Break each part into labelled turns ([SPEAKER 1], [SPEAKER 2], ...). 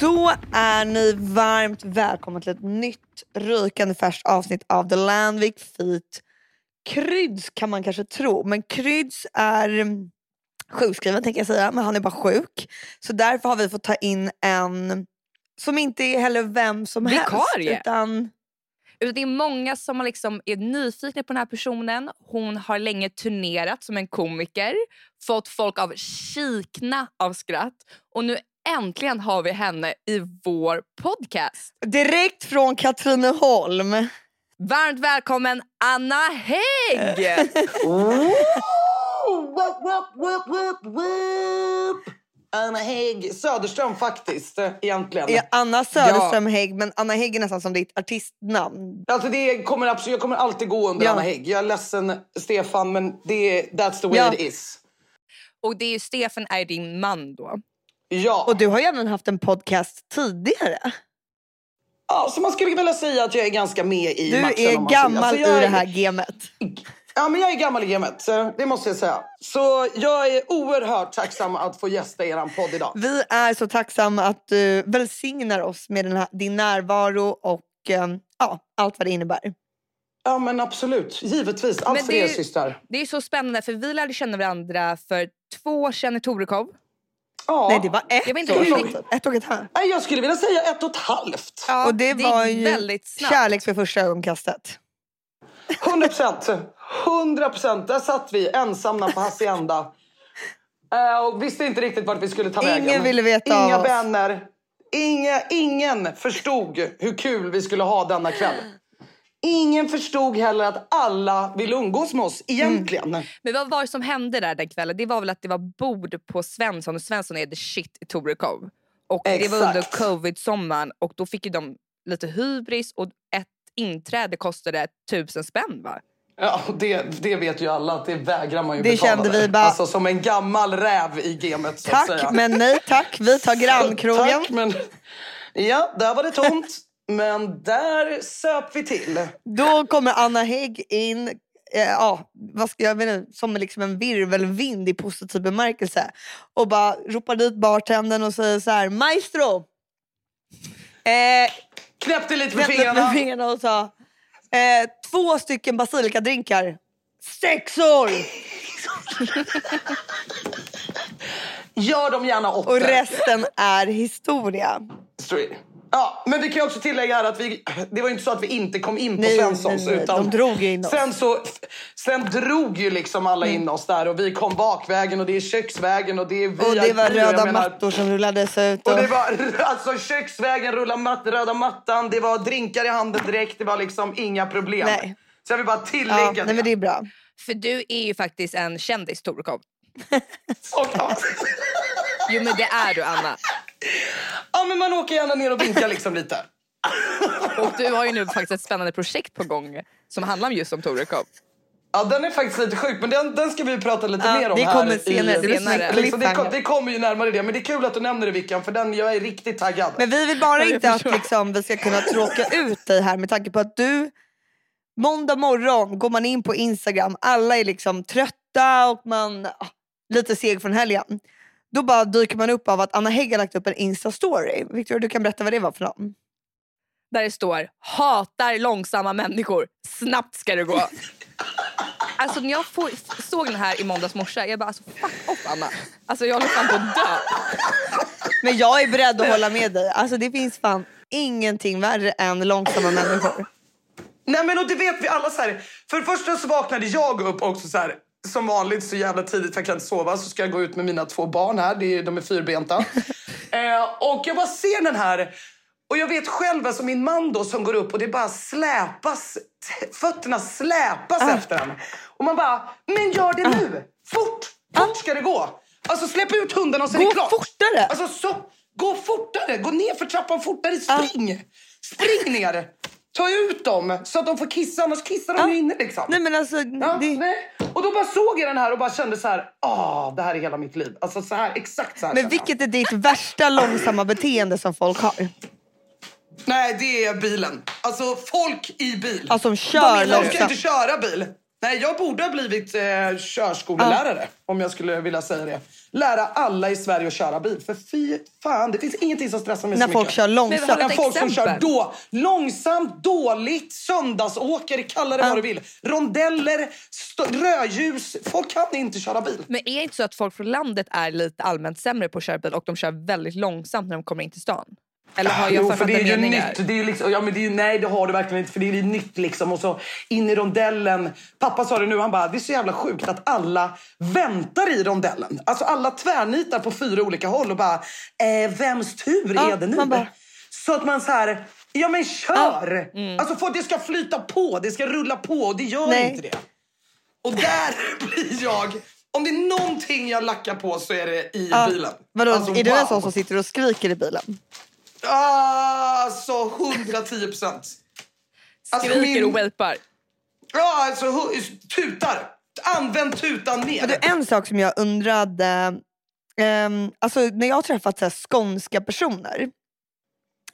[SPEAKER 1] Då är ni varmt välkomna till ett nytt rykande färskt avsnitt av The Landvik Feet. Kryds kan man kanske tro, men Kryds är mm, sjukskriven tänker jag säga, men han är bara sjuk. Så därför har vi fått ta in en som inte är heller vem som
[SPEAKER 2] Vikarie.
[SPEAKER 1] helst. Utan,
[SPEAKER 2] Utan Alltså, det är många som har liksom är nyfikna på den här personen. Hon har länge turnerat som en komiker, fått folk av kikna av skratt och nu äntligen har vi henne i vår podcast.
[SPEAKER 1] direkt från Katrineholm.
[SPEAKER 2] Varmt välkommen Anna Hägg!
[SPEAKER 3] Whoop, whoop, whoop, whoop, whoop. Anna Hägg Söderström faktiskt, eh, egentligen.
[SPEAKER 1] Är Anna Söderström Hägg, men Anna Hägg är nästan som ditt artistnamn.
[SPEAKER 3] Alltså det kommer absolut, jag kommer alltid gå under
[SPEAKER 1] Ja.
[SPEAKER 3] Anna Hägg. Jag är ledsen Stefan, men det, that's the way
[SPEAKER 1] Ja.
[SPEAKER 3] it is.
[SPEAKER 2] Och det är ju Stefan är din man då.
[SPEAKER 3] Ja.
[SPEAKER 1] Och du har ju även haft en podcast tidigare.
[SPEAKER 3] ja, så man skulle vilja säga att jag är ganska med i
[SPEAKER 1] Du
[SPEAKER 3] matchen. om
[SPEAKER 1] är
[SPEAKER 3] man
[SPEAKER 1] gammal
[SPEAKER 3] säger. Alltså, jag
[SPEAKER 1] i det
[SPEAKER 3] är-
[SPEAKER 1] här gemet.
[SPEAKER 3] Ja, men jag är gammal i gamet, eh, det måste jag säga. Så jag är oerhört tacksam att få gästa er podd idag.
[SPEAKER 1] Vi är så tacksamma att du välsignar oss med den här, din närvaro och eh, ja, allt vad det innebär.
[SPEAKER 3] Ja, men absolut. Givetvis. Allt
[SPEAKER 2] Men
[SPEAKER 3] för
[SPEAKER 2] det är
[SPEAKER 3] er
[SPEAKER 2] ju-
[SPEAKER 3] systrar.
[SPEAKER 2] Det är så spännande för vi lärde känna varandra för två år sedan i Torekov.
[SPEAKER 3] Ja.
[SPEAKER 1] Nej, det var ett
[SPEAKER 2] Jag vet inte
[SPEAKER 1] år
[SPEAKER 3] hur
[SPEAKER 1] sedan. Ett och ett halvt.
[SPEAKER 3] Nej, jag skulle vilja säga ett och ett halvt.
[SPEAKER 2] Ja,
[SPEAKER 1] Och det var
[SPEAKER 2] gick
[SPEAKER 1] ju
[SPEAKER 2] väldigt snabbt.
[SPEAKER 1] Kärlek för första ögonkastet.
[SPEAKER 3] 100 procent. 100 procent. Där satt vi ensamma på Hacienda. Eh, och visste inte riktigt vart vi skulle ta vägen.
[SPEAKER 1] Ingen ville veta av
[SPEAKER 3] Inga
[SPEAKER 1] oss.
[SPEAKER 3] vänner. Inga, ingen förstod hur kul vi skulle ha denna kväll. Ingen förstod heller att alla vill umgås med oss egentligen.
[SPEAKER 1] Mm.
[SPEAKER 2] Men vad var det som hände där den kvällen? Det var väl att det var bord på Svensson och Svensson är the shit i Torekov. Och det var under
[SPEAKER 3] Exakt.
[SPEAKER 2] covid-sommaren och då fick ju de lite hybris och ett inträde kostade tusen spänn va?
[SPEAKER 3] Ja, och det, det vet ju alla att det vägrar man ju
[SPEAKER 1] Det
[SPEAKER 3] betala.
[SPEAKER 1] kände vi
[SPEAKER 3] där.
[SPEAKER 1] bara-
[SPEAKER 3] Alltså som en gammal räv i gamet så att säga.
[SPEAKER 1] Tack men nej tack. Vi tar grannkrogen.
[SPEAKER 3] Tack, men... Ja, där var det tomt. Men där söp vi till.
[SPEAKER 1] Då kommer Anna Hägg in. Eh, ja, vad ska jag menar, som liksom en virvelvind i positiv bemärkelse. Och bara ropar dit bartendern och säger så här, maestro! Eh,
[SPEAKER 3] Knäppte lite med
[SPEAKER 1] knäppte
[SPEAKER 3] fingrarna.
[SPEAKER 1] med fingrarna och sa eh, två stycken basilikadrinkar. Sexor!
[SPEAKER 3] Gör dem gärna åtta.
[SPEAKER 1] Och resten är historia.
[SPEAKER 3] Story. Ja, men vi kan ju också tillägga här att vi, det var ju inte så att vi inte kom in på
[SPEAKER 1] Nej,
[SPEAKER 3] Svenssons.
[SPEAKER 1] nej, nej.
[SPEAKER 3] utan
[SPEAKER 1] De drog ju in oss. Mm.
[SPEAKER 3] Sen, så, sen drog ju liksom alla in oss där och vi kom bakvägen och det är köksvägen och det är VIP.
[SPEAKER 1] Och det var
[SPEAKER 3] jag
[SPEAKER 1] röda
[SPEAKER 3] menar-
[SPEAKER 1] mattor som rullades ut.
[SPEAKER 3] Och
[SPEAKER 1] Och
[SPEAKER 3] det var alltså köksvägen, rulla matt, röda mattan, det var drinkar i handen direkt, det var liksom inga problem.
[SPEAKER 1] Nej.
[SPEAKER 3] Så jag vill bara tillägga
[SPEAKER 1] ja, nej, men det är bra.
[SPEAKER 2] För du är ju faktiskt en kändis Torekov.
[SPEAKER 3] Och, ja.
[SPEAKER 2] Jo men det är du Anna.
[SPEAKER 3] ja, men man åker gärna ner och vinkar liksom lite.
[SPEAKER 2] Och du har ju nu faktiskt ett spännande projekt på gång som handlar om just om Torekov.
[SPEAKER 3] Ja, den är faktiskt lite sjuk, men den, den ska vi prata lite
[SPEAKER 1] Ja,
[SPEAKER 3] mer om
[SPEAKER 1] det
[SPEAKER 3] här.
[SPEAKER 1] kommer
[SPEAKER 3] i-
[SPEAKER 1] senare,
[SPEAKER 2] det är som en
[SPEAKER 3] liksom, det, kom,
[SPEAKER 1] cliffhanger.
[SPEAKER 3] det kommer ju närmare det, men det är kul att du nämner det Vickan, för den, jag är riktigt taggad.
[SPEAKER 1] Men vi vill bara
[SPEAKER 2] jag
[SPEAKER 1] inte att
[SPEAKER 2] förstår.
[SPEAKER 1] liksom, vi ska kunna tråka ut dig här med tanke på att du, måndag morgon går man in på Instagram, alla är liksom trötta och man ah, lite seg från helgen. Då bara dyker man upp av att Anna Hägg har lagt upp en Insta-story. Victor, du kan berätta vad det var för någon.
[SPEAKER 2] där det står “hatar långsamma människor, snabbt ska det gå”. Alltså när jag får, såg den här i måndags morse, jag bara alltså fuck off Anna. Alltså jag håller fan på att dö.
[SPEAKER 1] Men jag är beredd att hålla med dig. Alltså det finns fan ingenting värre än långsamma människor.
[SPEAKER 3] Nej, men och det vet vi alla så här. För det första så vaknade jag upp också så här. Som vanligt så jävla tidigt för jag kan inte sova så ska jag gå ut med mina två barn här. Det är, de är fyrbenta. eh, och jag bara ser den här. Och jag vet själv, alltså min man då som går upp och det bara släpas. t- Fötterna släpas efter den. Och man bara, men gör det nu! Fort! Fort ska det gå! Alltså släpp ut hunden och sen är
[SPEAKER 1] Gå
[SPEAKER 3] det klart.
[SPEAKER 1] fortare!
[SPEAKER 3] Alltså så, gå fortare! Gå ner för trappan fortare! Spring! Spring ner! Ta ut dem så att de får kissa, annars kissar de
[SPEAKER 1] Ja.
[SPEAKER 3] ju inne liksom.
[SPEAKER 1] Nej men alltså,
[SPEAKER 3] Ja,
[SPEAKER 1] det,
[SPEAKER 3] nej. Och då bara såg jag den här och bara kände så här, ah, det här är hela mitt liv. Alltså så här, exakt så här
[SPEAKER 1] men
[SPEAKER 3] kände jag.
[SPEAKER 1] vilket är ditt värsta långsamma beteende som folk har?
[SPEAKER 3] Nej, det är bilen. Alltså folk i bil.
[SPEAKER 1] Alltså som
[SPEAKER 3] Vad
[SPEAKER 1] kör
[SPEAKER 3] menar du? De ska
[SPEAKER 1] Alltså, långsamt.
[SPEAKER 3] inte köra bil. Nej, jag borde ha blivit eh, körskolelärare om jag skulle vilja säga det. Lära alla i Sverige att köra bil. För fy fan, det finns ingenting som stressar mig
[SPEAKER 1] När
[SPEAKER 3] så
[SPEAKER 1] folk
[SPEAKER 3] mycket.
[SPEAKER 1] kör
[SPEAKER 2] Men vi
[SPEAKER 1] långsamt.
[SPEAKER 2] har-
[SPEAKER 3] Än
[SPEAKER 2] Ett
[SPEAKER 3] folk som kör
[SPEAKER 2] exempel.
[SPEAKER 3] då, långsamt, dåligt, söndagsåkare, kalla det vad du vill. Rondeller, st- rödljus. Folk kan inte köra bil.
[SPEAKER 2] Men är det inte så att folk från landet är lite allmänt sämre på att köra bil och de kör väldigt långsamt när de kommer in till stan? Eller har jag
[SPEAKER 3] Jo, för
[SPEAKER 2] författat
[SPEAKER 3] det är ju
[SPEAKER 2] meningar?
[SPEAKER 3] nytt. Det är ju liksom, ja, men det är ju, nej, det har du verkligen inte. För det är ju nytt liksom. Och så in i rondellen. Pappa sa det nu, han bara, det är så jävla sjukt att alla väntar i rondellen. Alltså alla tvärnitar på fyra olika håll och bara, eh, vems tur
[SPEAKER 1] Ja,
[SPEAKER 3] är det nu?
[SPEAKER 1] man bara-
[SPEAKER 3] Så att man så här, ja men kör! Alltså för att det ska flyta på, det ska rulla på och det gör
[SPEAKER 1] mm. Nej.
[SPEAKER 3] inte det. Och där blir jag, om det är någonting jag lackar på så är det i
[SPEAKER 1] Ja.
[SPEAKER 3] bilen.
[SPEAKER 1] Vadå,
[SPEAKER 3] Alltså,
[SPEAKER 1] är du en
[SPEAKER 3] wow.
[SPEAKER 1] sån som sitter och skriker i bilen?
[SPEAKER 3] Alltså 110 procent. Alltså,
[SPEAKER 2] Skriker
[SPEAKER 3] min-
[SPEAKER 2] och wapar.
[SPEAKER 3] Ja, alltså hu- tutar. Använd tutan mer.
[SPEAKER 1] Men du, en sak som jag undrade, ehm, alltså när jag har träffat så här, skånska personer,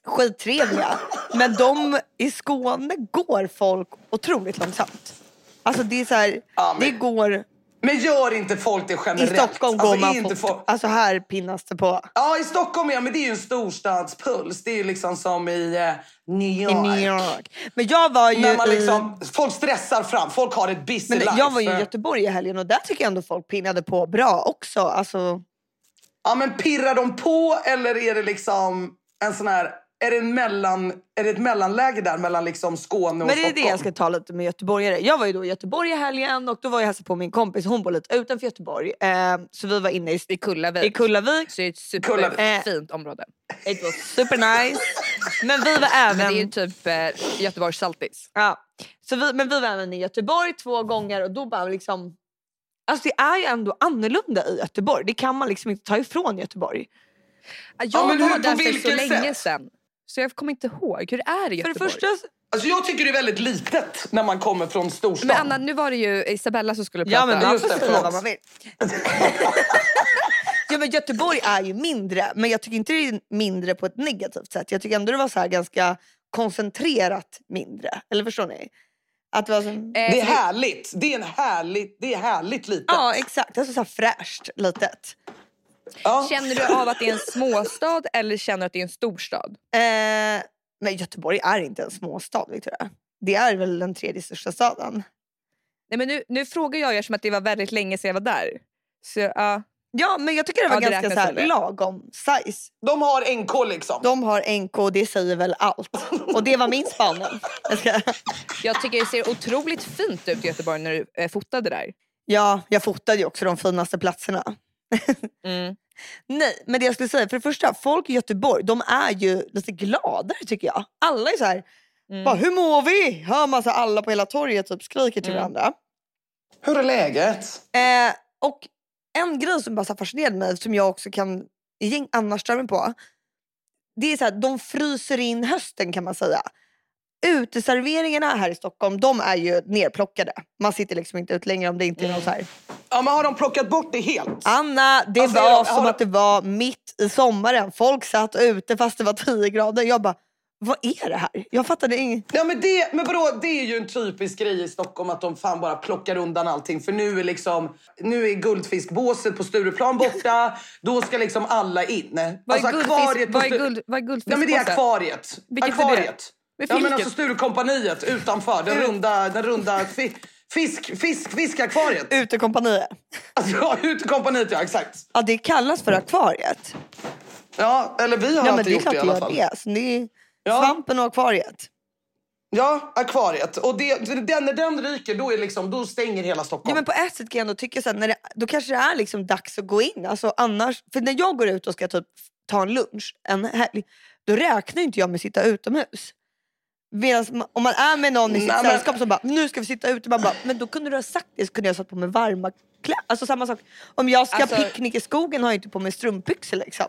[SPEAKER 1] skittrevliga, men de i Skåne går folk otroligt långsamt. Alltså det är så här,
[SPEAKER 3] Ja, men-
[SPEAKER 1] det går,
[SPEAKER 3] Men gör inte folk det
[SPEAKER 1] i
[SPEAKER 3] generellt.
[SPEAKER 1] Stockholm går
[SPEAKER 3] Alltså, är
[SPEAKER 1] man
[SPEAKER 3] inte
[SPEAKER 1] fort.
[SPEAKER 3] folk-
[SPEAKER 1] Alltså här pinnas det på.
[SPEAKER 3] Ja, i Stockholm ja, men det är ju en storstadspuls. Det är ju liksom som i eh, New York.
[SPEAKER 1] I New York. Men jag var ju
[SPEAKER 3] När man
[SPEAKER 1] i-
[SPEAKER 3] liksom, folk stressar fram, folk har ett busy
[SPEAKER 1] men
[SPEAKER 3] life.
[SPEAKER 1] jag var ju i Göteborg i helgen och där tycker jag ändå folk pinnade på bra också. Alltså,
[SPEAKER 3] Ja, men pirrar de på eller är det liksom en sån här... Är det, en mellan, är det ett mellanläge där mellan liksom Skåne och
[SPEAKER 1] Men det är det
[SPEAKER 3] Stockholm?
[SPEAKER 1] jag ska ta lite med göteborgare. Jag var ju då i Göteborg i helgen och då var jag och hälsade på min kompis. Hon bor lite utanför Göteborg. Eh, så vi var inne i,
[SPEAKER 2] I Kullavik.
[SPEAKER 1] i Kullavik.
[SPEAKER 2] Så det är ett
[SPEAKER 3] Kullavik.
[SPEAKER 2] superfint område.
[SPEAKER 1] It was super nice. Men vi var
[SPEAKER 2] Men det är ju
[SPEAKER 1] även...
[SPEAKER 2] typ eh, Göteborgs Saltis.
[SPEAKER 1] Ja, så vi, men vi var även i Göteborg två gånger och då bara liksom... Alltså det är ju ändå annorlunda i Göteborg. Det kan man liksom inte ta ifrån Göteborg.
[SPEAKER 2] Jag
[SPEAKER 3] Ja, men hur-
[SPEAKER 2] var
[SPEAKER 3] på
[SPEAKER 2] där för så
[SPEAKER 3] vilket
[SPEAKER 2] länge
[SPEAKER 3] sätt?
[SPEAKER 2] sedan. Så jag kommer inte ihåg. Hur är det i
[SPEAKER 1] För
[SPEAKER 2] Göteborg?
[SPEAKER 1] det första...
[SPEAKER 3] Alltså jag tycker det är väldigt litet när man kommer från storstan.
[SPEAKER 2] Men Anna, nu var det ju Isabella som skulle prata.
[SPEAKER 1] Ja men man
[SPEAKER 3] just
[SPEAKER 1] får
[SPEAKER 3] det,
[SPEAKER 1] säga
[SPEAKER 3] förlåt.
[SPEAKER 1] vad man vill. ja, men Göteborg är ju mindre, men jag tycker inte det är mindre på ett negativt sätt. Jag tycker ändå det var så här ganska koncentrerat mindre. Eller förstår ni? Att det var så...
[SPEAKER 2] Eh,
[SPEAKER 3] Det är härligt. Det är, en härligt, det är härligt litet.
[SPEAKER 1] Ja exakt, alltså så här fräscht litet.
[SPEAKER 3] Ja.
[SPEAKER 2] Känner du av att det är en småstad eller känner du att det är en storstad?
[SPEAKER 1] Eh, men Göteborg är inte en småstad Victoria. Det är väl den tredje största staden.
[SPEAKER 2] Nej, men nu, nu frågar jag er som att det var väldigt länge sedan jag var där. Så, ja.
[SPEAKER 1] Ja men jag tycker det var
[SPEAKER 2] Ja, det
[SPEAKER 1] ganska
[SPEAKER 2] räknas
[SPEAKER 1] så här
[SPEAKER 2] som det.
[SPEAKER 1] lagom size.
[SPEAKER 3] De har NK liksom.
[SPEAKER 1] De har NK och det säger väl allt. Och det var min spaning. Jag ska...
[SPEAKER 2] Jag tycker det ser otroligt fint ut i Göteborg när du eh, fotade där.
[SPEAKER 1] Ja, jag fotade ju också de finaste platserna.
[SPEAKER 2] Mm.
[SPEAKER 1] Nej, men det jag skulle säga, för det första, folk i Göteborg, de är ju lite gladare tycker jag. Alla är så här,
[SPEAKER 2] Mm.
[SPEAKER 1] bara, hur mår vi? Hör man så här, alla på hela torget typ skriker till
[SPEAKER 2] Mm.
[SPEAKER 1] varandra.
[SPEAKER 3] Hur är läget?
[SPEAKER 1] Eh, och en grej som bara så här fascinerade mig, som jag också kan igen, annars störa mig på. Det är så här, de fryser in hösten kan man säga. Uteserveringarna här i Stockholm, de är ju nerplockade. Man sitter liksom inte ut längre om det inte är någon så här
[SPEAKER 3] Ja, men har de plockat bort det helt?
[SPEAKER 1] Anna, det
[SPEAKER 3] Alltså,
[SPEAKER 1] var
[SPEAKER 3] jag- jag
[SPEAKER 1] som
[SPEAKER 3] har-
[SPEAKER 1] att det var mitt i sommaren. Folk satt ute fast det var 10 grader. Jag bara, vad är det här? Jag fattade inget.
[SPEAKER 3] Ja, men det, men vadå, det är ju en typisk grej i Stockholm att de fan bara plockar undan allting. För nu är liksom, nu är guldfiskbåset på Stureplan borta. Då ska liksom alla in.
[SPEAKER 2] Vad är
[SPEAKER 3] Alltså, akvariet
[SPEAKER 2] guldfisk-
[SPEAKER 3] på
[SPEAKER 2] vad är
[SPEAKER 3] Sture-
[SPEAKER 2] guld- vad är
[SPEAKER 3] Ja, men det är
[SPEAKER 2] guldfiskpåsen?
[SPEAKER 3] akvariet.
[SPEAKER 2] Vilket är det?
[SPEAKER 3] akvariet.
[SPEAKER 2] Med
[SPEAKER 3] ja, men
[SPEAKER 2] fisken?
[SPEAKER 3] alltså Sturecompagniet utanför. Den runda, den runda fi, fisk, fisk, fiskakvariet.
[SPEAKER 1] Utekompanier.
[SPEAKER 3] Alltså, ja, utecompagniet, ja. Exakt.
[SPEAKER 1] Ja, det kallas för akvariet.
[SPEAKER 3] Ja, eller vi har
[SPEAKER 1] Ja, men
[SPEAKER 3] inte
[SPEAKER 1] det är
[SPEAKER 3] gjort
[SPEAKER 1] klart det
[SPEAKER 3] det i alla
[SPEAKER 1] gör
[SPEAKER 3] fall.
[SPEAKER 1] det. Så det är
[SPEAKER 3] Ja.
[SPEAKER 1] svampen och akvariet.
[SPEAKER 3] Ja, akvariet. Och det, den, när den ryker, då, är liksom, då stänger hela
[SPEAKER 1] Ja,
[SPEAKER 3] Stockholm.
[SPEAKER 1] men på ett sätt kan jag ändå tycka så här, när det, då kanske det är liksom dags att gå in. Alltså, annars, för när jag går ut och ska typ ta en lunch en helg, då räknar ju inte jag med att sitta utomhus. Medan om man är med någon i sitt
[SPEAKER 3] Nej, men-
[SPEAKER 1] sällskap som bara, nu ska vi sitta ute. Man bara, men då kunde du ha sagt det så kunde jag ha satt på mig varma kläder. Alltså samma sak. Om jag ska
[SPEAKER 2] Alltså-
[SPEAKER 1] picknick i skogen har jag inte på mig strumpbyxor liksom.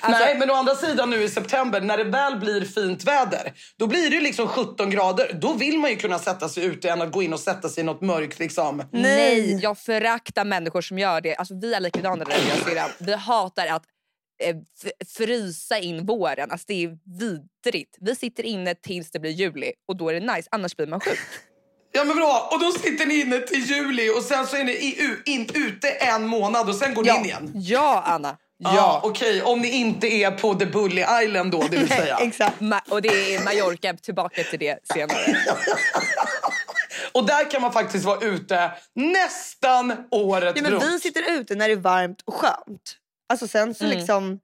[SPEAKER 2] Alltså-
[SPEAKER 3] Nej, men å andra sidan nu i september, när det väl blir fint väder, då blir det liksom 17 grader. Då vill man ju kunna sätta sig ute än att gå in och sätta sig i något mörkt. Liksom.
[SPEAKER 1] Nej.
[SPEAKER 2] Jag föraktar människor som gör det. Alltså, vi är likadana där jag ser det. Vi hatar att eh, f- frysa in våren. Alltså, det är vidrigt. Vi sitter inne tills det blir juli och då är det nice. Annars blir man sjuk.
[SPEAKER 3] Ja men bra, och då sitter ni inne till juli och sen så är ni i, u, in, ute en månad och sen går ni in igen?
[SPEAKER 1] ja, Anna.
[SPEAKER 3] Ja, okej. Om ni inte är på The Bully Island då, det vill säga.
[SPEAKER 1] Exakt.
[SPEAKER 2] Ma- och det är Mallorca, tillbaka till det senare.
[SPEAKER 3] och där kan man faktiskt vara ute nästan året
[SPEAKER 1] Ja, men
[SPEAKER 3] runt.
[SPEAKER 1] vi sitter ute när det är varmt och skönt. Alltså sen så
[SPEAKER 2] Mm.
[SPEAKER 1] liksom...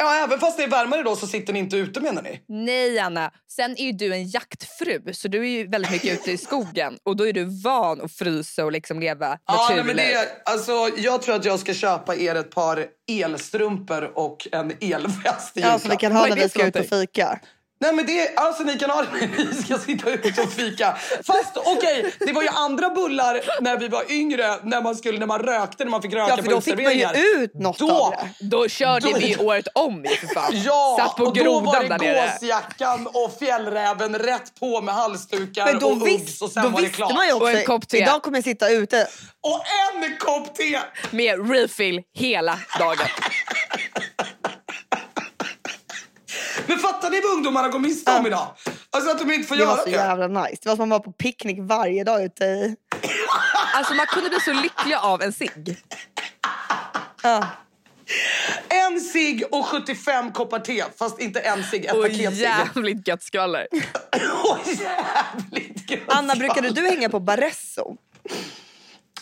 [SPEAKER 3] Ja, även fast det är värmare då så sitter ni inte ute menar ni?
[SPEAKER 2] Nej, Anna. Sen är ju du en jaktfru, så du är ju väldigt mycket ute i skogen. Och då är du van att frysa och liksom leva
[SPEAKER 3] Ja, nej,
[SPEAKER 2] naturligt.
[SPEAKER 3] men det, alltså, jag tror att jag ska köpa er ett par elstrumpor och en elväst i
[SPEAKER 1] Ja, så vi
[SPEAKER 3] julklapp.
[SPEAKER 1] kan ha
[SPEAKER 2] Vad är
[SPEAKER 1] när
[SPEAKER 2] det
[SPEAKER 1] vi
[SPEAKER 2] för
[SPEAKER 1] ska ut och
[SPEAKER 2] någonting?
[SPEAKER 1] fika.
[SPEAKER 3] Nej men det, alltså ni kan ha det när ni ska sitta ute och fika. Fast okej, det var ju andra bullar när vi var yngre när man, skulle, när man rökte, när man fick röka
[SPEAKER 1] Ja,
[SPEAKER 3] på
[SPEAKER 1] för då fick man ju
[SPEAKER 3] uteserveringar.
[SPEAKER 1] ut något
[SPEAKER 3] Då-
[SPEAKER 1] av det.
[SPEAKER 2] Då körde vi ju året om ju för fan.
[SPEAKER 3] Ja,
[SPEAKER 2] Satt på
[SPEAKER 3] och då var
[SPEAKER 2] grodan
[SPEAKER 3] det
[SPEAKER 2] där nere.
[SPEAKER 3] gåsjackan och fjällräven rätt på med halsdukar
[SPEAKER 1] Men då,
[SPEAKER 3] och
[SPEAKER 1] visst,
[SPEAKER 3] Uggs och sen
[SPEAKER 1] då
[SPEAKER 3] var det
[SPEAKER 1] visste
[SPEAKER 3] klart.
[SPEAKER 1] man ju också,
[SPEAKER 2] Och en kopp te.
[SPEAKER 1] idag kommer jag sitta ute.
[SPEAKER 3] Och en kopp te!
[SPEAKER 2] Med refill hela dagen.
[SPEAKER 3] Men fattar ni vad ungdomarna går miste om idag? Alltså att de inte får
[SPEAKER 1] Det var
[SPEAKER 3] göra
[SPEAKER 1] så
[SPEAKER 3] det.
[SPEAKER 1] jävla nice. Det var som att man var på picknick varje dag ute i...
[SPEAKER 2] Alltså man kunde bli så lycklig av en cigg.
[SPEAKER 1] Ja.
[SPEAKER 3] En cigg och 75 koppar te, fast inte en cigg, ett
[SPEAKER 2] Och
[SPEAKER 3] paket cigg.
[SPEAKER 2] jävligt gött skvaller.
[SPEAKER 3] Åh, jävligt gött.
[SPEAKER 1] Anna, brukade du hänga på Barresso?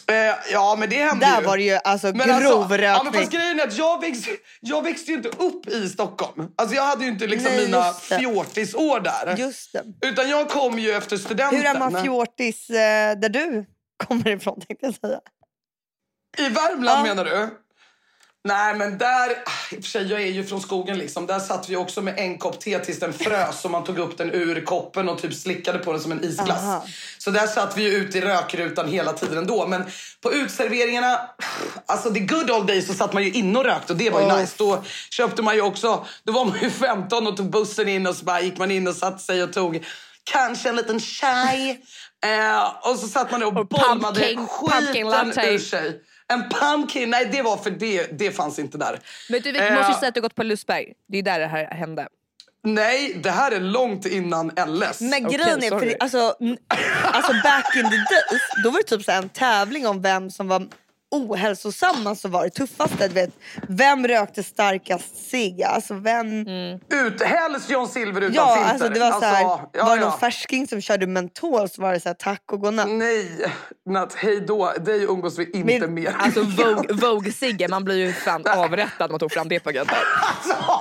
[SPEAKER 3] Eh, ja, men det hände
[SPEAKER 1] Där var det ju alltså
[SPEAKER 3] Men
[SPEAKER 1] grov
[SPEAKER 3] alltså,
[SPEAKER 1] rökning.
[SPEAKER 3] ja, men fast grejen är att jag växte, jag växte ju inte upp i Stockholm. Alltså jag hade ju inte liksom
[SPEAKER 1] Nej,
[SPEAKER 3] mina
[SPEAKER 1] just det.
[SPEAKER 3] fjortisår där.
[SPEAKER 1] Just det.
[SPEAKER 3] Utan jag kom ju efter studenten.
[SPEAKER 1] Hur är man fjortis eh, där du kommer ifrån tänkte jag säga.
[SPEAKER 3] I Värmland
[SPEAKER 1] Ja.
[SPEAKER 3] menar du? Nej men där, ah, i och för sig jag är ju från skogen liksom. Där satt vi också med en kopp te tills den frös och man tog upp den ur koppen och typ slickade på den som en isglass.
[SPEAKER 1] Aha.
[SPEAKER 3] Så där satt vi ju ute i rökrutan hela tiden ändå. Men på utserveringarna, alltså the good old days så satt man ju inne och rökte och det var ju
[SPEAKER 1] Ja.
[SPEAKER 3] nice. Då köpte man ju också, då var man ju 15 och tog bussen in och så bara gick man in och satte sig och tog kanske en liten chai. Eh, och så satt man och, och bollmade
[SPEAKER 2] pumpkin- pumpkin
[SPEAKER 3] skiten
[SPEAKER 2] latte.
[SPEAKER 3] ur sig. En pumpkin, nej det var för det, det fanns inte där.
[SPEAKER 2] Men du
[SPEAKER 3] Eh.
[SPEAKER 2] vi måste ju säga att du gått på Lusberg. Det är där det här hände.
[SPEAKER 3] Nej, det här är långt innan LS.
[SPEAKER 1] Men
[SPEAKER 2] Okej,
[SPEAKER 1] grejen är, för,
[SPEAKER 2] sorry.
[SPEAKER 1] alltså, n- alltså back in the days, då var det typ så här en tävling om vem som var ohälsosammast som var det tuffaste. Du vet. Vem rökte starkast cigg? Alltså vem...
[SPEAKER 3] Ut, helst John Silver utan
[SPEAKER 1] Ja,
[SPEAKER 3] filter.
[SPEAKER 1] alltså det var så här,
[SPEAKER 3] ja,
[SPEAKER 1] var det
[SPEAKER 3] ja. Mm.
[SPEAKER 1] någon färsking som körde mentol så var det så här, tack och godnatt.
[SPEAKER 3] Nej, Nat, hej då. Dig umgås vi inte
[SPEAKER 1] Men-
[SPEAKER 3] mer.
[SPEAKER 2] Alltså Vogue- Vogue-ciggen, man blir ju fan avrättad om man tog fram det paketet.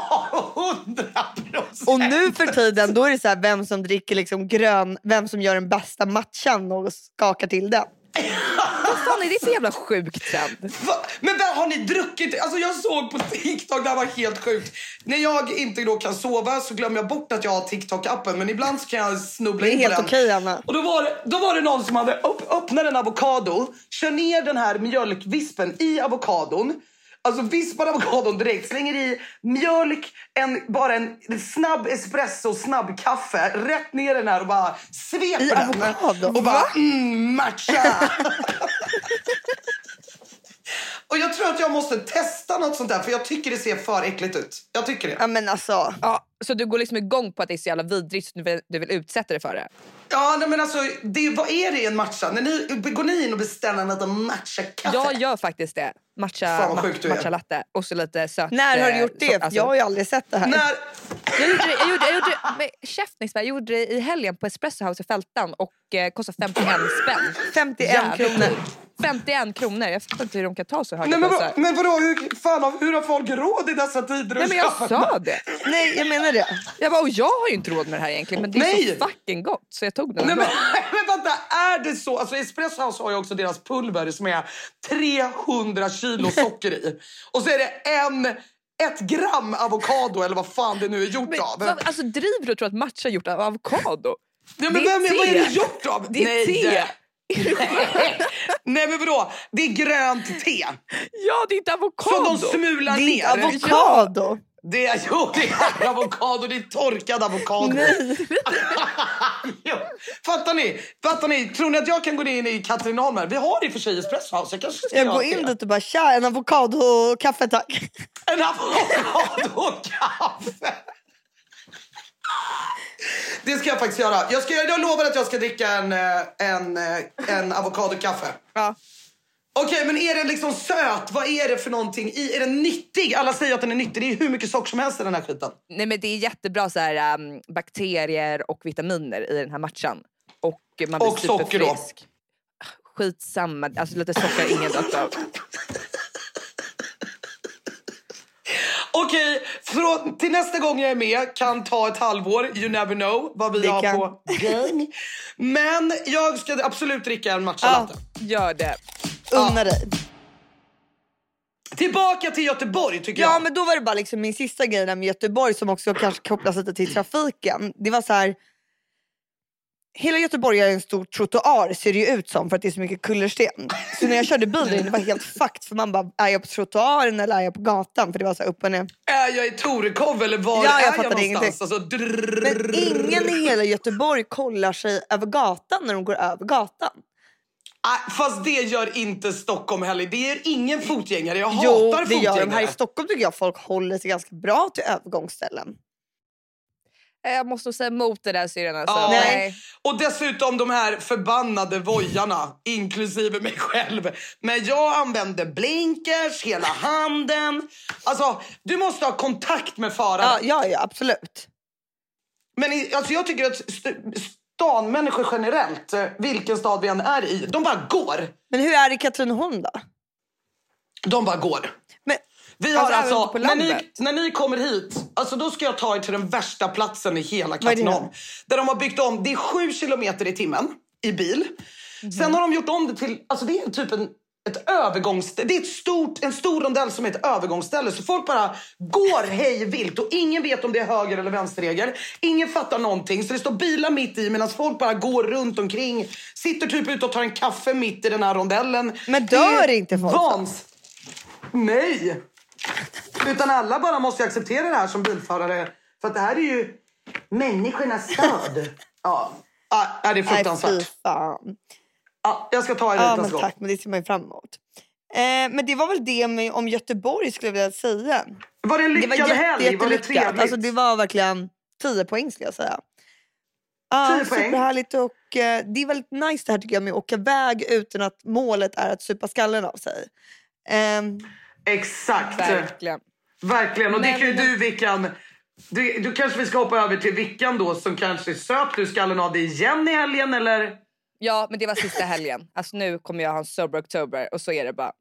[SPEAKER 3] hundra procent!
[SPEAKER 1] Och nu för tiden då är det så här, vem som dricker liksom grön, vem som gör den bästa matchan och skakar till den.
[SPEAKER 2] Vad fan är det för jävla sjuk trend?
[SPEAKER 3] Va? Men vad har ni druckit? Alltså jag såg på TikTok, det här var helt sjukt. När jag inte då kan sova så glömmer jag bort att jag har TikTok-appen men ibland så kan jag snubbla
[SPEAKER 1] Det är
[SPEAKER 3] in på
[SPEAKER 1] helt
[SPEAKER 3] den.
[SPEAKER 1] okej, Anna.
[SPEAKER 3] Och då var, det, då var det någon som hade upp, öppnat en avokado, kör ner den här mjölkvispen i avokadon. Alltså vispar avokadon direkt, slänger i mjölk, en, bara en snabb espresso, snabb kaffe, rätt ner den här och bara sveper
[SPEAKER 1] I
[SPEAKER 3] den.
[SPEAKER 1] avokado?
[SPEAKER 3] Och bara,
[SPEAKER 1] Va?
[SPEAKER 3] mm, matcha! Och jag tror att jag måste testa något sånt där för jag tycker det ser för äckligt ut. Jag tycker det.
[SPEAKER 1] Ja men alltså.
[SPEAKER 2] Ja, så du går liksom igång på att det är så jävla vidrigt så du vill, du vill utsätta dig för det?
[SPEAKER 3] Ja, nej, men alltså, det, vad är det i en matcha? När ni, går ni in och beställer en liten matcha-kaffe?
[SPEAKER 2] Jag gör faktiskt det. Matcha,
[SPEAKER 3] Fan, vad sjuk du är.
[SPEAKER 2] matcha latte och så lite söt...
[SPEAKER 1] När har du
[SPEAKER 2] eh,
[SPEAKER 1] gjort det?
[SPEAKER 2] så- alltså-
[SPEAKER 1] jag har ju aldrig sett det här.
[SPEAKER 3] När,
[SPEAKER 2] Jag gjorde det, jag gjorde, jag gjorde det med käften, jag gjorde det i helgen på Espresso House i Fältan och eh, kostade 51 spänn.
[SPEAKER 1] 51
[SPEAKER 2] Jävligt
[SPEAKER 1] kronor.
[SPEAKER 2] dyrt. 51 kronor. Jag fattar inte hur de kan ta så höga
[SPEAKER 3] nej, men,
[SPEAKER 2] priser.
[SPEAKER 3] vad- men vadå, hur, fan, har- hur har folk råd i dessa tider?
[SPEAKER 2] Nej
[SPEAKER 3] att
[SPEAKER 2] men jag
[SPEAKER 3] köpa-
[SPEAKER 2] sa det.
[SPEAKER 1] Nej jag menar det.
[SPEAKER 2] Jag bara, och jag har ju inte råd med det här egentligen men det är
[SPEAKER 3] Nej.
[SPEAKER 2] så fucking gott så jag tog den
[SPEAKER 3] Nej, men,
[SPEAKER 2] ändå.
[SPEAKER 3] men vänta, är det så? Alltså, Espresso House har ju också deras pulver som är 300 kilo socker i. Och så är det en, ett gram avokado eller vad fan det nu är gjort
[SPEAKER 2] Men,
[SPEAKER 3] av.
[SPEAKER 2] vad- alltså driver du och tror att matcha är gjort av avokado?
[SPEAKER 3] Ja, men
[SPEAKER 2] Det är
[SPEAKER 3] vem, är- vad är
[SPEAKER 2] te.
[SPEAKER 3] det gjort av?
[SPEAKER 2] Det är te!
[SPEAKER 3] Nej men vadå, det är grönt te
[SPEAKER 2] Ja det är inte
[SPEAKER 3] som
[SPEAKER 2] avokado!
[SPEAKER 3] de smular
[SPEAKER 1] Det är inte
[SPEAKER 3] ner.
[SPEAKER 1] avokado.
[SPEAKER 3] det är, jo, det är avokado, det är torkad avokado.
[SPEAKER 1] Nej.
[SPEAKER 3] Jo. Fattar ni? Fattar ni? Tror ni att jag kan gå in i Katrineholm här? Vi har i och för sig espresso house. Jag kanske ska
[SPEAKER 1] Jag
[SPEAKER 3] göra
[SPEAKER 1] går
[SPEAKER 3] det.
[SPEAKER 1] in dit och bara tja en avokadokaffe tack.
[SPEAKER 3] En avokadokaffe! Det ska jag faktiskt göra. Jag, ska, jag lovar att jag ska dricka en, eh, en, eh, en avokadokaffe.
[SPEAKER 1] Ja.
[SPEAKER 3] Okej, men är den liksom söt? Vad är det för någonting? I, är den nyttig? Alla säger att den är nyttig. Det är hur mycket socker som helst i den här skiten.
[SPEAKER 2] Nej, men det är jättebra så här, ehm, bakterier och vitaminer i den här matchan. Och man blir
[SPEAKER 3] Och socker då.
[SPEAKER 2] superfrisk. Skitsamma, alltså lite socker har ingen dött av.
[SPEAKER 3] Okej, från- till nästa gång jag är med kan ta ett halvår. You never know vad vi
[SPEAKER 1] Det
[SPEAKER 3] har
[SPEAKER 1] kan.
[SPEAKER 3] på gång. Men jag ska absolut dricka en matcha
[SPEAKER 1] Ja.
[SPEAKER 3] latte.
[SPEAKER 2] Gör det.
[SPEAKER 1] Unna dig.
[SPEAKER 3] Tillbaka till Göteborg tycker
[SPEAKER 1] Ja,
[SPEAKER 3] jag.
[SPEAKER 1] men då var det bara liksom min sista grej där med Göteborg som också kanske kopplas lite till trafiken. Det var så här. Hela Göteborg är en stor trottoar ser det ju ut som för att det är så mycket kullersten. Så när jag körde bil där inne, det var helt fucked för man bara, är jag på trottoaren eller är jag på gatan? För det var så här upp och ner.
[SPEAKER 3] Är jag i Torekov eller var
[SPEAKER 1] Ja, jag
[SPEAKER 3] är jag
[SPEAKER 1] fattade
[SPEAKER 3] någonstans?
[SPEAKER 1] ingenting.
[SPEAKER 3] Alltså, drrrr.
[SPEAKER 1] Men ingen i hela Göteborg kollar sig över gatan när de går över gatan.
[SPEAKER 3] Ah, Fast det gör inte Stockholm heller. Det är ingen fotgängare. Jag
[SPEAKER 1] Jo,
[SPEAKER 3] hatar
[SPEAKER 1] det gör de.
[SPEAKER 3] fotgängare.
[SPEAKER 1] Här i Stockholm tycker jag folk håller sig ganska bra till övergångsställen.
[SPEAKER 2] Eh, Jag måste nog säga emot det där syrran. Alltså.
[SPEAKER 3] Ja.
[SPEAKER 1] Nej.
[SPEAKER 3] Och dessutom de här förbannade vojarna, inklusive mig själv. Men jag använder blinkers, hela handen. Alltså, du måste ha kontakt med föraren.
[SPEAKER 1] Ja, ja, ja absolut.
[SPEAKER 3] Men i, alltså, jag tycker att st- stanmänniskor generellt, eh, vilken stad vi än är i, de bara går.
[SPEAKER 1] Men hur är det i Katrineholm då?
[SPEAKER 3] De bara går.
[SPEAKER 1] Men,
[SPEAKER 3] Vi har
[SPEAKER 2] Alltså,
[SPEAKER 3] alltså,
[SPEAKER 2] även på
[SPEAKER 3] när, ni,
[SPEAKER 2] landet?
[SPEAKER 3] när ni kommer hit, alltså då ska jag ta er till den värsta platsen i hela
[SPEAKER 1] Vad är det?
[SPEAKER 3] Katrineholm. Där de har byggt om, det är sju kilometer i timmen i bil. Sen har de gjort om det till, alltså det är typ en, ett övergångsställe. Det är ett stort, en stor rondell som är ett övergångsställe. Så folk bara går hej vilt och ingen vet om det är höger eller vänsterregel. Ingen fattar någonting. Så det står bilar mitt i medan folk bara går runt omkring. Sitter typ ute och tar en kaffe mitt i den här rondellen.
[SPEAKER 1] Men
[SPEAKER 3] Det
[SPEAKER 1] dör
[SPEAKER 3] är
[SPEAKER 1] inte folk då?
[SPEAKER 3] Vans. Nej! Utan alla bara måste ju acceptera det här som bilförare. För att det här är ju människornas stad. ja. ja, det är
[SPEAKER 1] Nej, fy
[SPEAKER 3] fruktansvärt.
[SPEAKER 1] fan.
[SPEAKER 3] Ja, jag ska ta er
[SPEAKER 1] Ja,
[SPEAKER 3] dit
[SPEAKER 1] men
[SPEAKER 3] nästa gång.
[SPEAKER 1] tack, men det ser man ju fram emot. Eh, men det var väl det med, om Göteborg skulle jag vilja säga.
[SPEAKER 3] Var det en
[SPEAKER 1] Det var
[SPEAKER 3] lyckad
[SPEAKER 1] jätte,
[SPEAKER 3] helg? Var det
[SPEAKER 1] jättelyckat.
[SPEAKER 3] trevligt?
[SPEAKER 1] Alltså, det var verkligen 10 poäng skulle jag säga. Ja,
[SPEAKER 3] 10 poäng.
[SPEAKER 1] Superhärligt och eh, det är väldigt nice det här tycker jag med att åka iväg utan att målet är att supa skallen av sig. Ehm,
[SPEAKER 3] Exakt.
[SPEAKER 2] Verkligen.
[SPEAKER 3] Verkligen. Och det
[SPEAKER 2] Men-
[SPEAKER 3] kan ju du, Vickan... Du, du kanske vi ska hoppa över till Vickan då som kanske söp du skallen av dig igen i helgen eller?
[SPEAKER 2] Ja, men det var sista helgen. Alltså, nu kommer jag ha en sober oktober och så är det bara.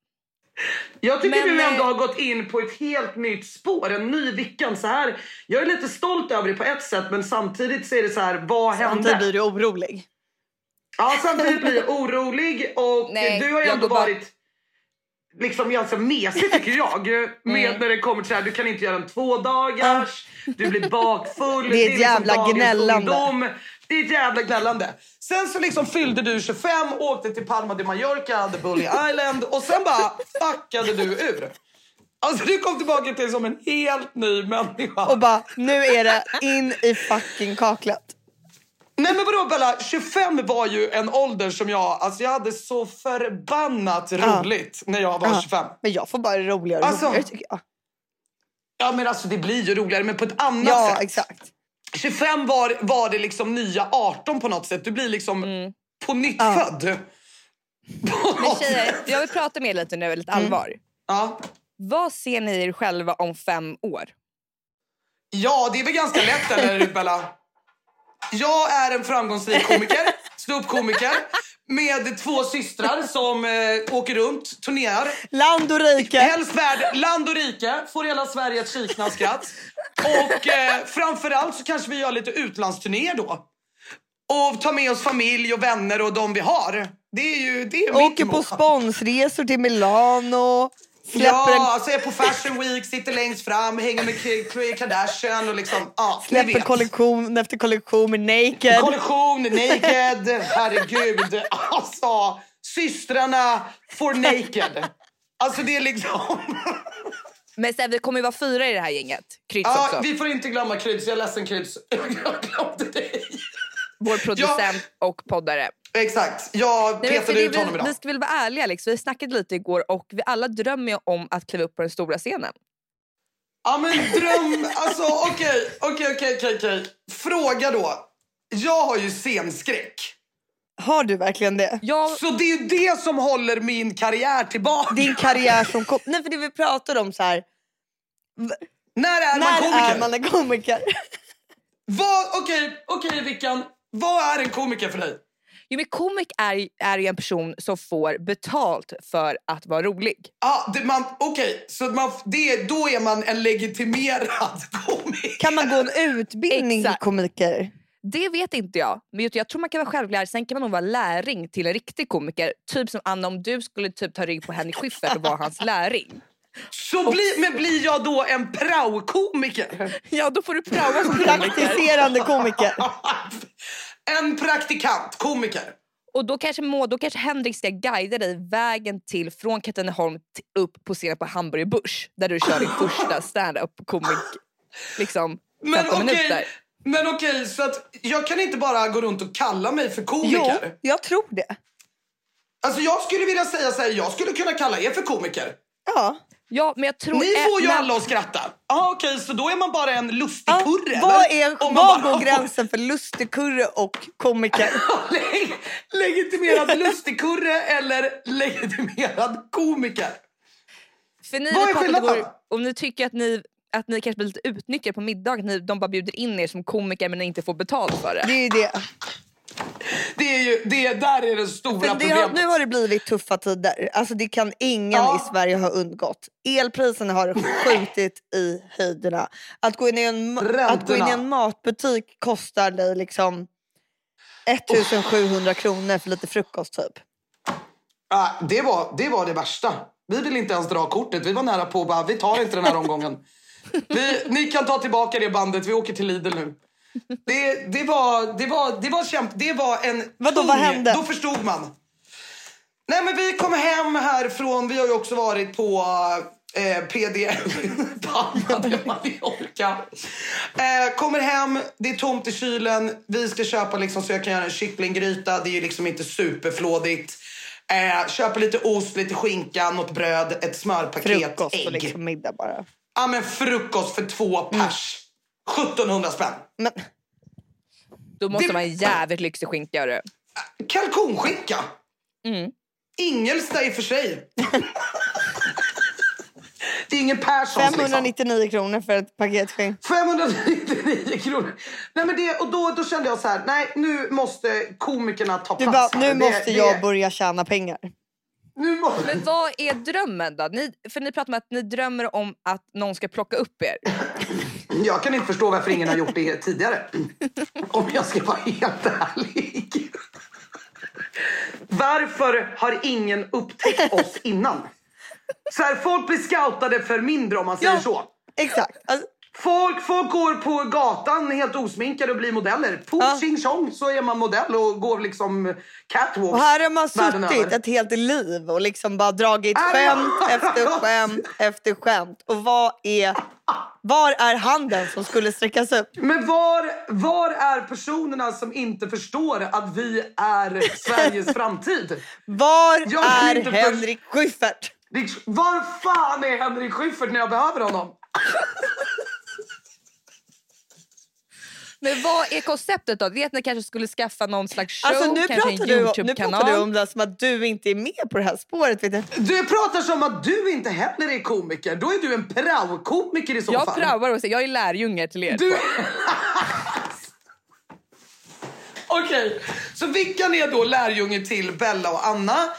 [SPEAKER 3] Jag tycker
[SPEAKER 2] Men,
[SPEAKER 3] du ändå
[SPEAKER 2] eh,
[SPEAKER 3] har gått in på ett helt nytt spår, en ny Vickan. Så här, jag är lite stolt över det på ett sätt, men samtidigt så är det så här, vad hände?
[SPEAKER 1] Samtidigt blir du orolig.
[SPEAKER 3] Ja, samtidigt blir jag orolig och
[SPEAKER 2] Nej,
[SPEAKER 3] du har ju
[SPEAKER 2] jag
[SPEAKER 3] ändå
[SPEAKER 2] går bara-
[SPEAKER 3] varit liksom ganska mesig tycker jag. Med när det kommer till så här, du kan inte göra en tvådagars, du blir bakfull. liksom
[SPEAKER 1] Det är ett jävla
[SPEAKER 3] dagens
[SPEAKER 1] gnällande.
[SPEAKER 3] ungdom. Det är ett jävla gnällande. Sen så liksom fyllde du 25, åkte till Palma de Mallorca, hade Bully Island och sen bara fuckade du ur. Alltså du kom tillbaka till som en helt ny människa.
[SPEAKER 1] Och bara, nu är det in i fucking kaklet.
[SPEAKER 3] Nej men vadå Bella, 25 var ju en ålder som jag, alltså jag hade så förbannat roligt när jag var
[SPEAKER 1] Ja.
[SPEAKER 3] 25.
[SPEAKER 1] Men jag får bara roligare och
[SPEAKER 3] Alltså,
[SPEAKER 1] roligare tycker jag.
[SPEAKER 3] Ja men alltså det blir ju roligare men på ett annat
[SPEAKER 1] Ja,
[SPEAKER 3] sätt.
[SPEAKER 1] exakt.
[SPEAKER 3] 25 var, var det liksom nya 18 på något sätt, du blir liksom på nytt
[SPEAKER 1] Mm. Ja.
[SPEAKER 3] född. På
[SPEAKER 2] Men
[SPEAKER 3] något
[SPEAKER 2] tjejer,
[SPEAKER 3] sätt.
[SPEAKER 2] jag vill prata med er lite nu, lite
[SPEAKER 3] Mm.
[SPEAKER 2] allvar.
[SPEAKER 3] Ja.
[SPEAKER 2] Vad ser ni er själva om fem år?
[SPEAKER 3] ja det är väl ganska lätt eller Bella? Jag är en framgångsrik komiker, ståuppkomiker med två systrar som eh, åker runt, turnerar.
[SPEAKER 1] Land och rike.
[SPEAKER 3] Helst värld, land och rike, får hela Sverige ett kikna skratt. Och eh, framförallt så kanske vi gör lite utlandsturnéer då. Och tar med oss familj och vänner och de vi har. Det är ju det är mitt
[SPEAKER 1] Åker på
[SPEAKER 3] mål.
[SPEAKER 1] sponsresor till Milano. Släpper
[SPEAKER 3] Ja,
[SPEAKER 1] en
[SPEAKER 3] alltså är på Fashion Week, sitter längst fram, hänger med K- Khloe Kardashian och liksom, ja, ni
[SPEAKER 1] Släpper
[SPEAKER 3] vet.
[SPEAKER 1] kollektion efter kollektion med Naked.
[SPEAKER 3] Kollektion, naked, herregud. Alltså, systrarna for naked. Alltså det är liksom...
[SPEAKER 2] Men sen, vi kommer ju vara fyra i det här gänget. Kryds
[SPEAKER 3] Ja,
[SPEAKER 2] också.
[SPEAKER 3] vi får inte glömma Kryds. Jag är ledsen Kryds. Jag glömde dig.
[SPEAKER 2] Vår producent och poddare.
[SPEAKER 3] Exakt. Jag
[SPEAKER 2] Nej, men för
[SPEAKER 3] petade
[SPEAKER 2] det
[SPEAKER 3] ut
[SPEAKER 2] vi,
[SPEAKER 3] honom idag.
[SPEAKER 2] vi ska väl vara ärliga, Alex. vi snackade lite igår och vi alla drömmer ju om att kliva upp på den stora scenen.
[SPEAKER 3] Ja men dröm, alltså okej, okej, okej, okej, okej. Fråga då. Jag har ju scenskräck.
[SPEAKER 1] Har du verkligen det?
[SPEAKER 2] Jag,
[SPEAKER 3] Så det är ju det som håller min karriär tillbaka.
[SPEAKER 1] Din karriär som kom... Nej för det vi pratade om så här.
[SPEAKER 3] När är man
[SPEAKER 1] när
[SPEAKER 3] komiker?
[SPEAKER 1] är man en komiker?
[SPEAKER 3] Vad, okej, okej Vickan. Vad är en komiker för dig?
[SPEAKER 2] jo, men komik är, är ju en person som får betalt för att vara rolig.
[SPEAKER 3] Ah, det, man, okej, så man, det, då är man en legitimerad komiker.
[SPEAKER 1] Kan man gå en utbildning till
[SPEAKER 2] Exakt.
[SPEAKER 1] komiker?
[SPEAKER 2] Det vet inte jag. Men jag- jag tror man kan vara självlärd. Sen kan man nog vara lärling till en riktig komiker. Typ som Anna om du skulle typ ta rygg på Henrik Schyffert och vara hans lärling.
[SPEAKER 3] Så bli, men blir jag då en praokomiker?
[SPEAKER 2] Ja, då får du prova som komiker.
[SPEAKER 1] Praktiserande komiker.
[SPEAKER 3] en praktikant komiker.
[SPEAKER 2] Och då kanske, må, då kanske Henrik ska guida dig vägen till från Katrineholm till, upp på scenen på Hamburger Börs där du kör din första stand-up komik liksom 15
[SPEAKER 3] Men
[SPEAKER 2] minuter.
[SPEAKER 3] okej, men okej, så att jag kan inte bara gå runt och kalla mig för
[SPEAKER 1] Jo,
[SPEAKER 3] komiker.
[SPEAKER 1] jag tror det.
[SPEAKER 3] Alltså jag skulle vilja säga så här, jag skulle kunna kalla er för komiker.
[SPEAKER 1] Ja.
[SPEAKER 2] Ja, men jag tror
[SPEAKER 3] Ni får ju
[SPEAKER 2] när-
[SPEAKER 3] alla att skratta. Ja, okej, så då är man bara en lustig
[SPEAKER 1] Ja,
[SPEAKER 3] kurre.
[SPEAKER 1] Vad
[SPEAKER 3] eller?
[SPEAKER 1] är,
[SPEAKER 3] Om man
[SPEAKER 1] var
[SPEAKER 3] bara
[SPEAKER 1] går
[SPEAKER 3] får-
[SPEAKER 1] gränsen för lustigkurre och komiker?
[SPEAKER 3] Leg- legitimerad lustigkurre eller legitimerad komiker?
[SPEAKER 2] För ni
[SPEAKER 3] Vad är
[SPEAKER 2] vi pratade
[SPEAKER 3] skillnaden?
[SPEAKER 2] igår Om ni tycker att ni, att ni kanske blir lite utnyttjade på middag, att ni, de bara bjuder in er som komiker men ni inte får betalt för
[SPEAKER 1] Det
[SPEAKER 2] det.
[SPEAKER 1] är ju det.
[SPEAKER 3] Det är ju, det, där är det stora
[SPEAKER 1] Men det har,
[SPEAKER 3] problemet.
[SPEAKER 1] nu har det blivit tuffa tider. Alltså det kan ingen
[SPEAKER 3] Ja.
[SPEAKER 1] i Sverige ha undgått. Elpriserna har skjutit i höjderna. Att gå in i en, ma- att gå in i en
[SPEAKER 3] Räntorna.
[SPEAKER 1] matbutik kostar dig liksom 1700 kronor för lite frukost typ.
[SPEAKER 3] Ah, det, var, det var det värsta. Vi ville inte ens dra kortet. Vi var nära på att bara, vi tar inte den här omgången. Vi, ni kan ta tillbaka det bandet, vi åker till Lidl nu. Det, det var, det var, det var kämp, det var en
[SPEAKER 1] Vadå,
[SPEAKER 3] tung-
[SPEAKER 1] vad hände?
[SPEAKER 3] Då förstod man. Nej men vi kom hem härifrån, vi har ju också varit på eh, PDL, Palma de Mallorca. Eh, kommer hem, det är tomt i kylen, vi ska köpa liksom så jag kan göra en kycklinggryta, det är ju liksom inte superflådigt. Eh, köper lite ost, lite skinka, något bröd, ett smörpaket,
[SPEAKER 1] Frukost och
[SPEAKER 3] ägg.
[SPEAKER 1] liksom middag bara.
[SPEAKER 3] Ja men frukost för två pers.
[SPEAKER 1] Mm.
[SPEAKER 3] 1700 spänn.
[SPEAKER 1] Men
[SPEAKER 2] Då måste
[SPEAKER 3] Det-
[SPEAKER 2] man ha en jävligt lyxig skinka. gör du.
[SPEAKER 3] Kalkonskinka.
[SPEAKER 2] Mm.
[SPEAKER 3] Ingelsta i och för sig. det är ingen Perssons liksom.
[SPEAKER 1] 599 kronor för ett paket skinn.
[SPEAKER 3] 599 kronor. Nej, men det, och då, då kände jag så här, nej nu måste komikerna ta
[SPEAKER 1] Du
[SPEAKER 3] plats.
[SPEAKER 1] bara,
[SPEAKER 3] här.
[SPEAKER 1] nu
[SPEAKER 3] Alltså, Det-
[SPEAKER 1] måste
[SPEAKER 3] det-
[SPEAKER 1] jag börja tjäna pengar.
[SPEAKER 3] Nu må-
[SPEAKER 2] Men vad är drömmen då? Ni, för ni pratar om att ni drömmer om att någon ska plocka upp er.
[SPEAKER 3] Jag kan inte förstå varför ingen har gjort det tidigare. Om jag ska vara helt ärlig. Varför har ingen upptäckt oss innan? Så här, folk blir scoutade för mindre om man säger
[SPEAKER 1] Ja.
[SPEAKER 3] så.
[SPEAKER 1] Exakt. Alltså,
[SPEAKER 3] Folk, folk går på gatan helt osminkade och blir modeller. Puff,
[SPEAKER 1] Ja.
[SPEAKER 3] tjing tjong så är man modell och går liksom catwalks.
[SPEAKER 1] Och här har man
[SPEAKER 3] världen
[SPEAKER 1] suttit
[SPEAKER 3] över.
[SPEAKER 1] ett helt liv och liksom bara dragit
[SPEAKER 3] Är det-
[SPEAKER 1] skämt efter skämt efter skämt. Och vad är, var är handen som skulle sträckas upp?
[SPEAKER 3] Men var, var är personerna som inte förstår att vi är Sveriges framtid?
[SPEAKER 1] Var
[SPEAKER 3] Jag kan
[SPEAKER 1] är
[SPEAKER 3] inte för-
[SPEAKER 1] Henrik Schyffert?
[SPEAKER 3] Liksom, Var fan är Henrik Schyffert när jag behöver honom?
[SPEAKER 2] Men vad är konceptet då? Det är att ni kanske skulle skaffa någon slags show,
[SPEAKER 1] Alltså, nu,
[SPEAKER 2] kanske
[SPEAKER 1] pratar
[SPEAKER 2] en
[SPEAKER 1] du, nu pratar
[SPEAKER 2] Youtube-kanal.
[SPEAKER 1] du om det som att du inte är med på det här spåret. Vet du.
[SPEAKER 3] Du pratar som att du inte heller är komiker. Då är du en prao-komiker i så
[SPEAKER 2] Jag
[SPEAKER 3] fall.
[SPEAKER 2] praoar och säger, jag är lärjunge till er.
[SPEAKER 3] Du... Okej, så Vickan är då lärjunge till Bella och Anna.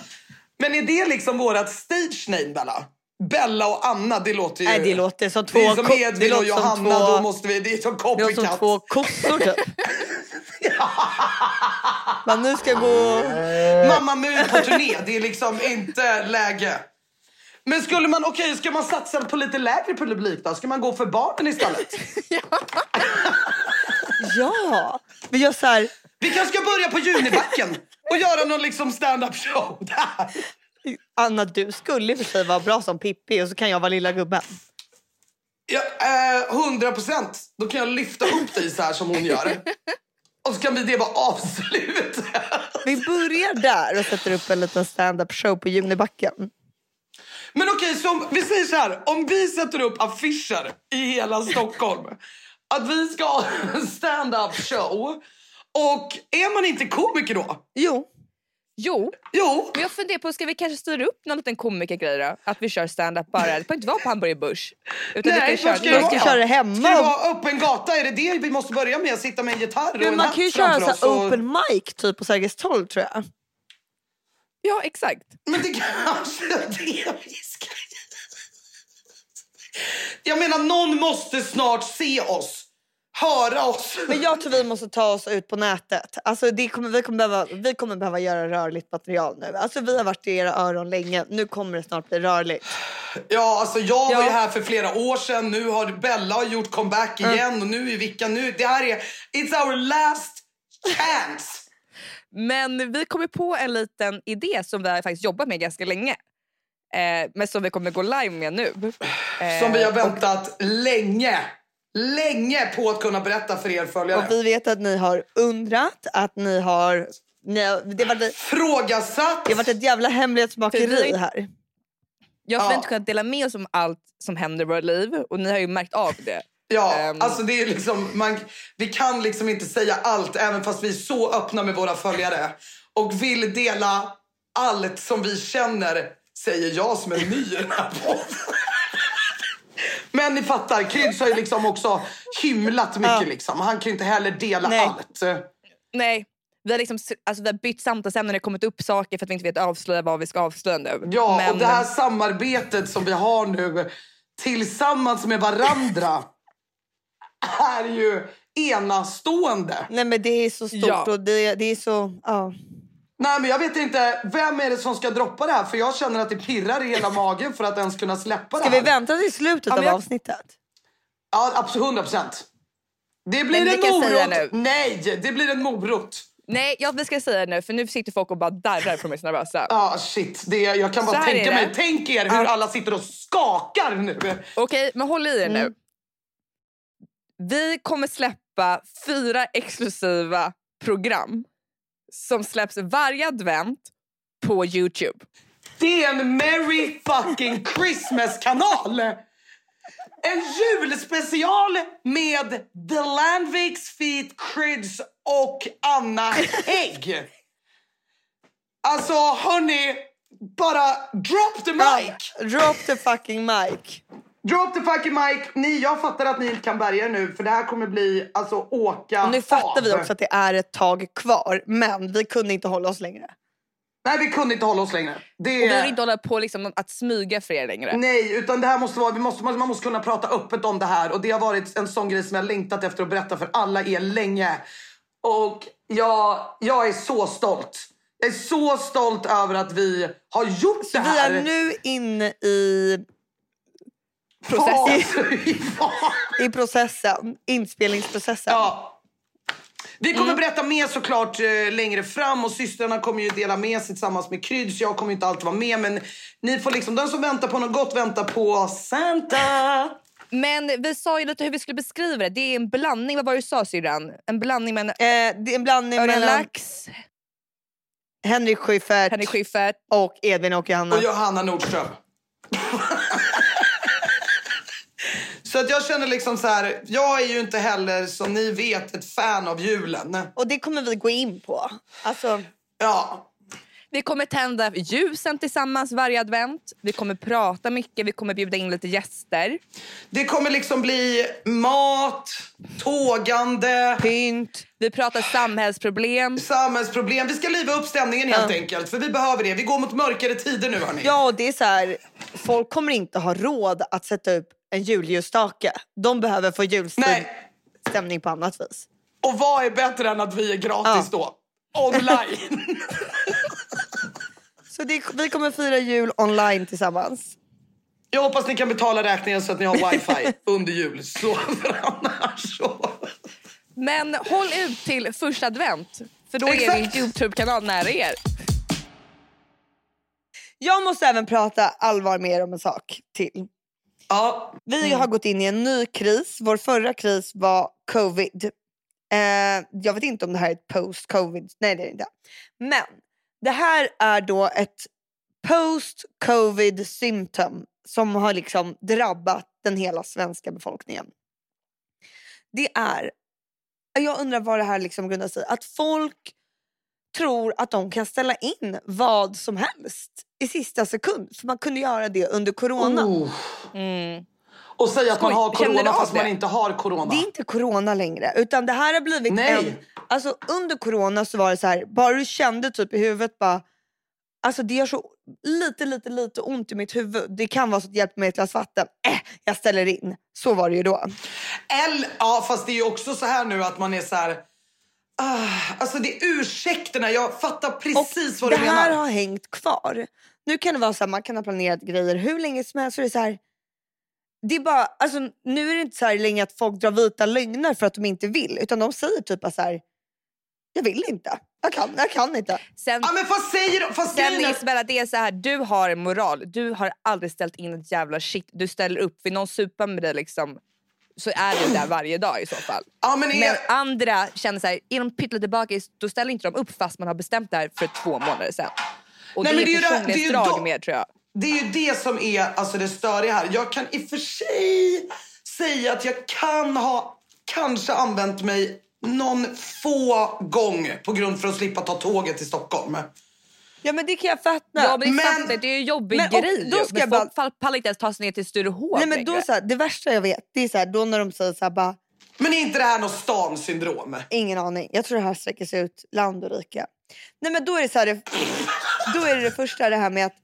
[SPEAKER 3] Men är det liksom vårat stage name, Bella? Bella och Anna, det låter ju...
[SPEAKER 1] Nej, det låter som två...
[SPEAKER 3] det är som
[SPEAKER 1] ko- det
[SPEAKER 3] Edvin och
[SPEAKER 1] låter som
[SPEAKER 3] Johanna,
[SPEAKER 1] två-
[SPEAKER 3] då måste vi... Det är som
[SPEAKER 1] det låter
[SPEAKER 3] copycat.
[SPEAKER 1] som två kossor, typ. Men nu ska jag gå...
[SPEAKER 3] Mamma Mu på turné, det är liksom inte läge. Men skulle man, okej, ska man satsa på lite lägre publik då? Ska man gå för barnen istället?
[SPEAKER 1] Ja! Vi gör så här...
[SPEAKER 3] Vi kanske ska börja på Junibacken och göra någon liksom stand-up show där.
[SPEAKER 1] Anna, du skulle i och för sig vara bra som Pippi och så kan jag vara lilla gubben.
[SPEAKER 3] Ja, eh, 100 procent. Då kan jag lyfta upp dig så här som hon gör. Och så kan vi det vara avslut.
[SPEAKER 1] Vi börjar där och sätter upp en liten stand-up show på Junibacken.
[SPEAKER 3] Men okej, så om, vi säger så här. Om vi sätter upp affischer i hela Stockholm att vi ska ha en stand-up show och är man inte komiker då?
[SPEAKER 1] Jo,
[SPEAKER 2] Jo,
[SPEAKER 3] Jo,
[SPEAKER 2] men jag funderar på, ska vi kanske styra upp någon liten komikergrej då? Att vi kör stand-up bara. Det behöver inte vara på Hamburger Börs. Utan
[SPEAKER 3] Nej,
[SPEAKER 2] vi
[SPEAKER 3] vad
[SPEAKER 2] kan köra,
[SPEAKER 3] ska
[SPEAKER 1] man
[SPEAKER 3] jag
[SPEAKER 1] ska
[SPEAKER 3] Ja.
[SPEAKER 1] köra
[SPEAKER 3] Ska det
[SPEAKER 1] hemma. och-
[SPEAKER 3] vara öppen gata? Är det det vi måste börja med? Sitta med en gitarr och
[SPEAKER 1] Men
[SPEAKER 3] en
[SPEAKER 1] man
[SPEAKER 3] hatt
[SPEAKER 1] kan ju köra
[SPEAKER 3] framför
[SPEAKER 1] så här
[SPEAKER 3] oss och-
[SPEAKER 1] open mic typ på Sergels torg tror jag.
[SPEAKER 2] Ja, exakt.
[SPEAKER 3] Men det kanske är det vi ska... Jag menar, någon måste snart se oss. Höra oss.
[SPEAKER 1] Men jag tror vi måste ta oss ut på nätet. Alltså, det kommer, vi, kommer behöva, vi kommer behöva göra rörligt material nu. Alltså, vi har varit i era öron länge. Nu kommer det snart bli rörligt.
[SPEAKER 3] Ja, Mm. alltså jag var ju
[SPEAKER 1] Ja.
[SPEAKER 3] här för flera år sedan. Nu har Bella gjort comeback igen. Och nu är Vicka nu. Det här är... It's our last chance.
[SPEAKER 2] Men vi kommer på en liten idé som vi har faktiskt jobbat med ganska länge. Eh, men som vi kommer gå live med nu. Eh,
[SPEAKER 3] Som vi har väntat länge, länge på att kunna berätta för er
[SPEAKER 1] Och
[SPEAKER 3] följare.
[SPEAKER 1] vi vet att ni har undrat, att ni har... Ni har det, har varit,
[SPEAKER 3] Frågasatt.
[SPEAKER 1] det har varit ett jävla hemlighetsmakeri här.
[SPEAKER 2] Jag har
[SPEAKER 3] Ja.
[SPEAKER 2] inte kunnat dela med oss om allt som händer i våra liv och ni har ju märkt av det.
[SPEAKER 3] Ja,
[SPEAKER 2] Ehm.
[SPEAKER 3] alltså det är liksom, man, vi kan liksom inte säga allt även fast vi är så öppna med våra följare och vill dela allt som vi känner, säger jag som är ny i den här podden. Men ni fattar, Kryds har ju liksom också hymlat mycket.
[SPEAKER 1] Ja.
[SPEAKER 3] Liksom. Han kan ju inte heller dela
[SPEAKER 1] Nej.
[SPEAKER 3] allt.
[SPEAKER 2] Nej, vi har, liksom, alltså, vi har bytt samtalsämnen, det har kommit upp saker för att vi inte vet avslöja vad vi ska avslöja nu.
[SPEAKER 3] Ja,
[SPEAKER 2] men,
[SPEAKER 3] och det här samarbetet som vi har nu tillsammans med varandra är ju enastående.
[SPEAKER 1] Nej, men det är så stort
[SPEAKER 2] Ja.
[SPEAKER 1] och det, det är så... Ja.
[SPEAKER 3] Nej, men jag vet inte, vem är det som ska droppa det här? För jag känner att det pirrar i hela magen för att ens kunna släppa
[SPEAKER 1] Ska
[SPEAKER 3] det
[SPEAKER 1] vi
[SPEAKER 3] här.
[SPEAKER 1] vänta till slutet
[SPEAKER 2] men
[SPEAKER 1] av
[SPEAKER 2] jag-
[SPEAKER 1] avsnittet?
[SPEAKER 3] Ja, absolut, 100 procent. Det blir
[SPEAKER 2] Men vi
[SPEAKER 3] en
[SPEAKER 2] kan säga
[SPEAKER 3] morot.
[SPEAKER 2] nu.
[SPEAKER 3] Nej, det blir en morot.
[SPEAKER 2] Nej, jag, vi ska säga det nu för nu sitter folk och bara darrar på mig så nervösa.
[SPEAKER 3] Ah, shit, det, jag kan
[SPEAKER 2] Så
[SPEAKER 3] bara
[SPEAKER 2] här
[SPEAKER 3] tänka
[SPEAKER 2] är det.
[SPEAKER 3] mig. Tänk er hur alla sitter och skakar nu.
[SPEAKER 2] Okej, men håll i er nu.
[SPEAKER 3] Mm.
[SPEAKER 2] Vi kommer släppa fyra exklusiva program som släpps varje advent på Youtube.
[SPEAKER 3] Det är en Merry fucking Christmas-kanal! En julspecial med The Landviks Feet Crids och Anna Hägg. Alltså, hörni, bara drop the mic!
[SPEAKER 1] Drop the fucking mic.
[SPEAKER 3] Drop the fucking mic! Ni, jag fattar att ni inte kan bärga er nu, för det här kommer bli alltså åka
[SPEAKER 1] Och nu fattar
[SPEAKER 3] av.
[SPEAKER 1] vi också att det är ett tag kvar, men vi kunde inte hålla oss längre.
[SPEAKER 3] Nej, vi kunde inte hålla oss längre. Det...
[SPEAKER 2] Vi vill inte hålla på liksom att smyga för er längre.
[SPEAKER 3] Nej, utan det här måste vara, vi måste, man man måste kunna prata öppet om det här. Och det har varit en sån grej som jag längtat efter att berätta för alla er länge. Och jag, jag är så stolt. Jag är så stolt över att vi har gjort
[SPEAKER 1] Vi
[SPEAKER 3] det här.
[SPEAKER 1] är nu inne i,
[SPEAKER 3] processen.
[SPEAKER 1] i processen, inspelningsprocessen.
[SPEAKER 3] Ja. Vi kommer
[SPEAKER 1] Mm.
[SPEAKER 3] berätta mer såklart eh, längre fram och systrarna kommer ju dela med sig tillsammans med Kryds. Jag kommer inte alltid vara med men ni får liksom, den som väntar på något gott väntar på
[SPEAKER 1] Eh,
[SPEAKER 3] Santa.
[SPEAKER 2] Men vi sa ju lite hur vi skulle beskriva det. Det är en blandning, vad var det du sa syrran? En blandning mellan
[SPEAKER 1] Eh, det är en blandning
[SPEAKER 2] Örjan
[SPEAKER 1] mellan
[SPEAKER 2] Lax,
[SPEAKER 1] Henrik Schyffert
[SPEAKER 2] Henrik Schyffert.
[SPEAKER 1] och Edvin och Johanna.
[SPEAKER 3] Och Johanna Nordström. så att jag känner liksom så här, jag är ju inte heller som ni vet ett fan av julen.
[SPEAKER 1] Och det kommer vi gå in på. Alltså,
[SPEAKER 3] Ja,
[SPEAKER 2] Vi kommer tända ljusen tillsammans varje advent. Vi kommer prata mycket, vi kommer bjuda in lite gäster.
[SPEAKER 3] det kommer liksom bli mat, tågande,
[SPEAKER 1] pynt.
[SPEAKER 2] Vi pratar samhällsproblem.
[SPEAKER 3] samhällsproblem. Vi ska liva upp stämningen helt
[SPEAKER 1] Ja.
[SPEAKER 3] enkelt för vi behöver det. Vi går mot mörkare tider nu hörni.
[SPEAKER 1] Ja, och det är så här, folk kommer inte ha råd att sätta upp en julljusstake. De behöver få julstämning
[SPEAKER 3] Nej,
[SPEAKER 1] på annat vis.
[SPEAKER 3] och vad är bättre än att vi är gratis då? Online.
[SPEAKER 1] Så det, vi kommer fira jul online tillsammans.
[SPEAKER 3] jag hoppas ni kan betala räkningen så att ni har wifi under jul. Så för annars så...
[SPEAKER 2] Men håll ut till första advent, för då är
[SPEAKER 3] Exakt.
[SPEAKER 2] din Youtube-kanal nära er.
[SPEAKER 1] Jag måste även prata allvar med er om en sak till.
[SPEAKER 3] Ja,
[SPEAKER 1] Vi har gått in i en ny kris. Vår förra kris var covid. Eh, jag vet inte om det här är ett post-covid. Nej, det är det inte. Men det här är då ett post covid symptom som har liksom drabbat den hela svenska befolkningen. Det är, jag undrar vad det här liksom grundar sig i, att folk tror att de kan ställa in vad som helst i sista sekund. För man kunde göra det under corona.
[SPEAKER 3] Oh.
[SPEAKER 2] Mm.
[SPEAKER 3] Och säga att man
[SPEAKER 2] Skoj,
[SPEAKER 3] har
[SPEAKER 2] känner du
[SPEAKER 3] corona
[SPEAKER 2] av
[SPEAKER 3] fast
[SPEAKER 2] det?
[SPEAKER 3] man inte har corona.
[SPEAKER 1] Det är inte corona längre. Utan det här har blivit
[SPEAKER 3] Nej.
[SPEAKER 1] en... Alltså under corona så var det så här, bara du kände typ i huvudet bara... Alltså det gör så lite, lite, lite ont i mitt huvud. Det kan vara så att hjälp mig ett glas vatten. Äh, jag ställer in. Så var det ju då.
[SPEAKER 3] Eller, ja fast det är ju också så här nu att man är så här... Ah, alltså det är ursäkterna, jag fattar precis vad
[SPEAKER 1] det
[SPEAKER 3] du
[SPEAKER 1] här
[SPEAKER 3] menar.
[SPEAKER 1] har hängt kvar. Nu kan det vara så här, man kan ha planerat grejer hur länge som helst. Så det är så här, det är bara, alltså, nu är det inte så här länge att folk drar vita lögner för att de inte vill. Utan de säger typ bara så här, jag vill inte. Jag kan, jag kan inte.
[SPEAKER 2] Sen,
[SPEAKER 3] Ja men fast säger de? Fast
[SPEAKER 2] sen
[SPEAKER 3] grejen är-
[SPEAKER 2] Isabella, det är så här, du har en moral. Du har aldrig ställt in ett jävla shit. Du ställer upp. Vill någon supa med dig liksom, så är du där varje dag i så fall.
[SPEAKER 3] Ja men, är,
[SPEAKER 2] Men andra känner så här, är de pyttelite bakis då ställer inte de upp fast man har bestämt det här för två månader sedan. Och
[SPEAKER 3] Nej,
[SPEAKER 2] det
[SPEAKER 3] men
[SPEAKER 2] är
[SPEAKER 3] det är ju det- det är ju
[SPEAKER 2] personlighetsdrag
[SPEAKER 3] då-
[SPEAKER 2] mer tror jag.
[SPEAKER 3] det är ju det som är alltså, det störiga här. Jag kan i och för sig säga att jag kan ha kanske använt mig någon få gång på grund för att slippa ta tåget till Stockholm.
[SPEAKER 1] Ja men det kan jag fatta.
[SPEAKER 2] Ja, men,
[SPEAKER 3] Men-
[SPEAKER 2] exakt, det är ju en jobbig
[SPEAKER 1] Men- och
[SPEAKER 2] grej.
[SPEAKER 1] då
[SPEAKER 2] ju.
[SPEAKER 1] ska
[SPEAKER 2] Men
[SPEAKER 1] jag
[SPEAKER 2] folk bara... pallar inte ens ta sig ner till Sturehof
[SPEAKER 1] Nej, men då,
[SPEAKER 2] längre.
[SPEAKER 1] så här, det värsta jag vet det är så här, då när de säger så här, bara,
[SPEAKER 3] Men är inte det här något stan-syndrom?
[SPEAKER 1] ingen aning. Jag tror det här sträcker sig ut land och rike. Nej men då är det så här, det, då är det, det första det här med att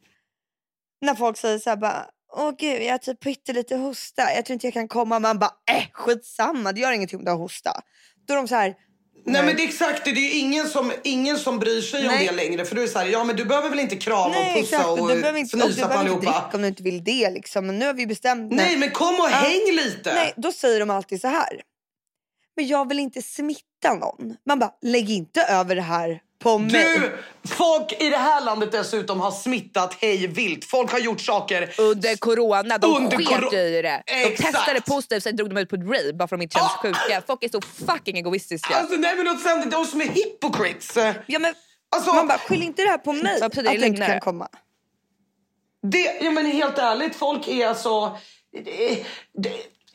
[SPEAKER 1] när folk säger så här bara Åh gud, jag har typ pyttelite hosta. Jag tror inte jag kan komma. Man bara, äh, skitsamma. Det gör ingenting om du har hosta. Då är de så här,
[SPEAKER 3] Nej men det är exakt det. Det är ju ingen som, ingen som bryr sig
[SPEAKER 1] Nej.
[SPEAKER 3] om det längre. För du är det så här, ja men du behöver väl inte krama och
[SPEAKER 1] nej
[SPEAKER 3] pussa
[SPEAKER 1] exakt.
[SPEAKER 3] och
[SPEAKER 1] Du behöver inte, och du
[SPEAKER 3] fnysa på
[SPEAKER 1] behöver inte dricka
[SPEAKER 3] allihopa.
[SPEAKER 1] om du inte vill det liksom. Men nu har vi bestämt
[SPEAKER 3] Nej men kom och häng lite.
[SPEAKER 1] Nej, då säger de alltid så här. Men jag vill inte smitta någon. Man bara, lägg inte över det här på mig.
[SPEAKER 3] Du, alltså- folk i det här landet dessutom har smittat hej vilt. Folk har gjort saker.
[SPEAKER 2] Under corona, de
[SPEAKER 3] Under
[SPEAKER 2] sket
[SPEAKER 3] coro-
[SPEAKER 2] i det. De
[SPEAKER 3] Exakt.
[SPEAKER 2] testade positivt, sen drog de ut på ett rave bara för att de inte kändes
[SPEAKER 3] Ah!
[SPEAKER 2] sjuka. Folk är så fucking egoistiska.
[SPEAKER 3] Alltså nej men och sen de som är hypocrites.
[SPEAKER 1] Ja, men,
[SPEAKER 3] Alltså,
[SPEAKER 1] man bara, skyll inte det här på mig
[SPEAKER 2] Vad
[SPEAKER 1] att
[SPEAKER 2] betyder det?
[SPEAKER 1] du inte
[SPEAKER 2] Lögnare?
[SPEAKER 1] kan komma.
[SPEAKER 3] det, ja, men helt ärligt, folk är alltså... Det,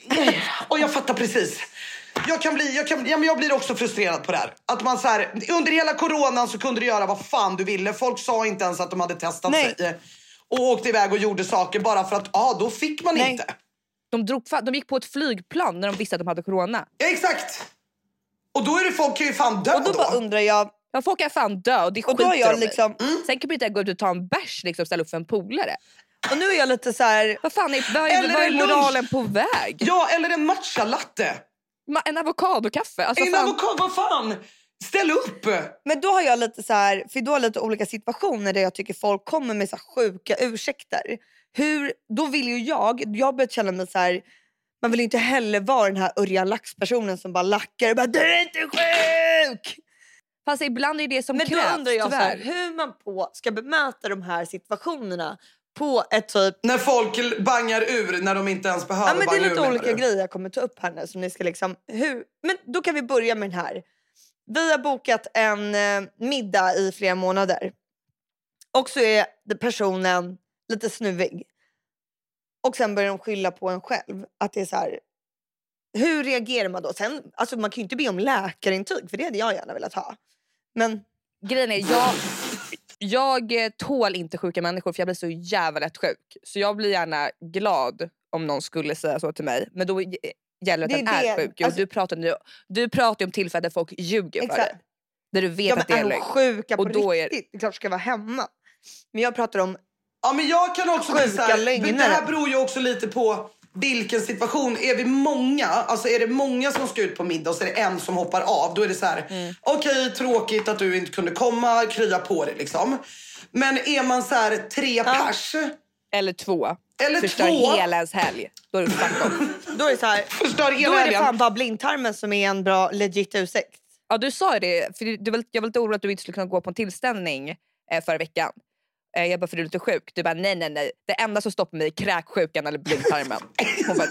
[SPEAKER 3] det, och jag fattar precis. Jag, kan bli, jag, kan, ja, men jag blir också frustrerad på det här. Att man så här. Under hela coronan så kunde du göra vad fan du ville. Folk sa inte ens att de hade testat
[SPEAKER 1] Nej.
[SPEAKER 3] sig. Och åkte iväg och gjorde saker bara för att ja, då fick man
[SPEAKER 1] Nej.
[SPEAKER 3] inte.
[SPEAKER 2] De, drog, fa- de gick på ett flygplan när de visste att de hade corona.
[SPEAKER 3] Ja, exakt. Och då är det folk kan ju fan dö
[SPEAKER 1] Och då bara undrar jag,
[SPEAKER 2] Ja, folk kan fan dö och det
[SPEAKER 1] och då har
[SPEAKER 2] skiter
[SPEAKER 1] jag
[SPEAKER 2] de i.
[SPEAKER 1] liksom,
[SPEAKER 2] Sen kan man inte gå ut och ta en bärs liksom, och ställa upp för en polare.
[SPEAKER 1] och nu är jag lite så här,
[SPEAKER 2] Vad fan är, vad är,
[SPEAKER 3] Eller
[SPEAKER 2] vad är
[SPEAKER 3] en lunch.
[SPEAKER 2] moralen på väg?
[SPEAKER 3] Ja, eller en matcha latte.
[SPEAKER 2] Ma- En avokadokaffe? Alltså,
[SPEAKER 3] en
[SPEAKER 2] fan.
[SPEAKER 3] avokado, vad fan? Ställ upp!
[SPEAKER 1] men då har jag lite så här, för då har jag lite olika situationer där jag tycker folk kommer med så här sjuka ursäkter. Hur, då vill ju jag, jag börjar känna mig så här, man vill ju inte heller vara den här Örjan Lax-personen som bara lackar och bara du är inte sjuk!
[SPEAKER 2] Fast ibland är det som
[SPEAKER 1] Men
[SPEAKER 2] krävs
[SPEAKER 1] då undrar jag så här,
[SPEAKER 2] tyvärr.
[SPEAKER 1] hur man på ska bemöta de här situationerna på ett typ...
[SPEAKER 3] När folk l- bangar ur när de inte ens behöver
[SPEAKER 1] Ja, men det
[SPEAKER 3] banga
[SPEAKER 1] är
[SPEAKER 3] ur.
[SPEAKER 1] lite
[SPEAKER 3] menar
[SPEAKER 1] olika
[SPEAKER 3] du?
[SPEAKER 1] grejer jag kommer ta upp här nu. Som ni ska liksom, hur, men då kan vi börja med den här. Vi har bokat en eh, middag i flera månader. Och så är det- personen lite snuvig. Och sen börjar de skylla på en själv. Att det är så här, hur reagerar man då? Sen, alltså man kan ju inte be om läkarintyg, för det hade jag gärna velat ha. Men
[SPEAKER 2] Grejen är, jag, jag eh, tål inte sjuka människor för jag blir så jävla lätt sjuk. Så jag blir gärna glad om någon skulle säga så till mig. Men då g- gäller det att
[SPEAKER 1] Det
[SPEAKER 2] den
[SPEAKER 1] är
[SPEAKER 2] är
[SPEAKER 1] det.
[SPEAKER 2] sjuk. Jo,
[SPEAKER 1] Alltså-
[SPEAKER 2] du, pratar, nu- du pratar ju om tillfällen där folk ljuger för
[SPEAKER 1] exakt.
[SPEAKER 2] dig. Där du vet
[SPEAKER 1] Ja,
[SPEAKER 2] att det
[SPEAKER 1] men
[SPEAKER 2] är
[SPEAKER 1] är de
[SPEAKER 2] lögn.
[SPEAKER 1] sjuka på
[SPEAKER 2] Och då är-
[SPEAKER 1] riktigt? Det är klart ska vara hemma. Men jag pratar om...
[SPEAKER 3] Ja, men jag kan också bli
[SPEAKER 1] Sjuka
[SPEAKER 3] så här,
[SPEAKER 1] lögner.
[SPEAKER 3] Det här beror ju också lite på vilken situation. Är vi många, alltså är det många som ska ut på middag och så är det en som hoppar av, då är det så här.
[SPEAKER 1] Mm.
[SPEAKER 3] Okej, tråkigt att du inte kunde komma, krya på dig liksom. Men är man så här tre pers
[SPEAKER 2] Eller två.
[SPEAKER 3] eller
[SPEAKER 2] Förstör
[SPEAKER 3] två,
[SPEAKER 2] hela ens helg. Då är du fuck off.
[SPEAKER 1] Då är det, så här,
[SPEAKER 3] förstör
[SPEAKER 1] då
[SPEAKER 3] hela
[SPEAKER 1] är det
[SPEAKER 3] helgen.
[SPEAKER 1] fan bara blindtarmen som är en bra legit ursäkt.
[SPEAKER 2] Ja, du sa ju det. För du, du, var- jag var lite orolig att du inte skulle kunna gå på en tillställning eh, förra veckan. Eh, jag bara, för du är lite sjuk. Du bara, nej, nej, nej. Det enda som stoppar mig är kräksjukan eller blindtarmen. Hon bara,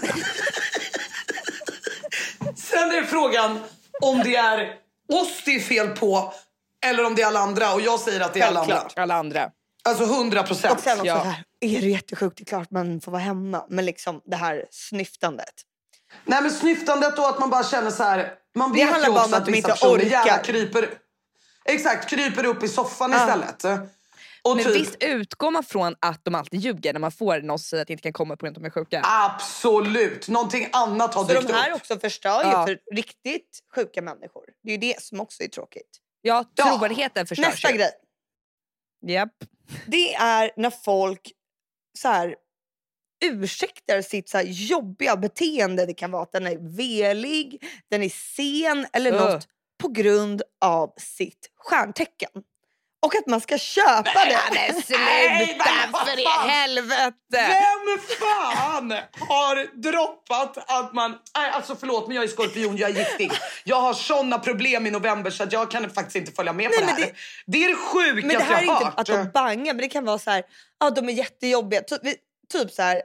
[SPEAKER 3] Sen är frågan om det är oss det är fel på eller om det är alla andra och jag säger att det är alla andra.
[SPEAKER 2] alla andra.
[SPEAKER 3] Alltså 100
[SPEAKER 1] Och
[SPEAKER 3] procent.
[SPEAKER 1] sen också
[SPEAKER 2] Ja.
[SPEAKER 1] så här, är det jättesjukt, det är klart man får vara hemma. Men liksom det här snyftandet.
[SPEAKER 3] Nej men snyftandet och att man bara känner så här. Man
[SPEAKER 1] Det
[SPEAKER 3] vet
[SPEAKER 1] handlar
[SPEAKER 3] ju
[SPEAKER 1] bara
[SPEAKER 3] också
[SPEAKER 1] om att
[SPEAKER 3] att
[SPEAKER 1] man
[SPEAKER 3] vissa
[SPEAKER 1] inte
[SPEAKER 3] personer gärna
[SPEAKER 1] orkar.
[SPEAKER 3] kryper, exakt, kryper upp i soffan
[SPEAKER 1] Ja.
[SPEAKER 3] istället. Och
[SPEAKER 2] Men
[SPEAKER 3] typ,
[SPEAKER 2] visst utgår man från att de alltid ljuger när man får någon säga att det inte kan komma på grund av att de är sjuka?
[SPEAKER 3] Ah, absolut, någonting annat har
[SPEAKER 1] Så
[SPEAKER 3] dykt
[SPEAKER 1] de här
[SPEAKER 3] upp.
[SPEAKER 1] också förstör ju
[SPEAKER 2] Ja.
[SPEAKER 1] för riktigt sjuka människor. Det är ju det som också är tråkigt.
[SPEAKER 2] Ja,
[SPEAKER 3] Ja. Ah,
[SPEAKER 2] trovärdigheten förstörs
[SPEAKER 1] Nästa
[SPEAKER 2] ju.
[SPEAKER 1] grej.
[SPEAKER 2] Japp.
[SPEAKER 1] Det är när folk så här, ursäktar sitt så här, jobbiga beteende. Det kan vara att den är velig, den är sen eller
[SPEAKER 2] Ugh.
[SPEAKER 1] något på grund av sitt stjärntecken. Och att man ska köpa det.
[SPEAKER 2] Men
[SPEAKER 3] Nej, men
[SPEAKER 2] sluta
[SPEAKER 3] vad
[SPEAKER 2] för i
[SPEAKER 3] fan!
[SPEAKER 2] helvete!
[SPEAKER 3] Vem fan har droppat att man... Nej, alltså förlåt, men jag är skorpion, jag är giftig. Jag har såna problem i november så att jag kan faktiskt inte följa med på
[SPEAKER 1] Nej,
[SPEAKER 3] det
[SPEAKER 1] men
[SPEAKER 3] här. Det, är det sjukaste
[SPEAKER 1] Men det här är
[SPEAKER 3] jag har
[SPEAKER 1] inte
[SPEAKER 3] hört.
[SPEAKER 1] att de bangar, men det kan vara så här, ja de är jättejobbiga. Typ, vi- typ så här, eh,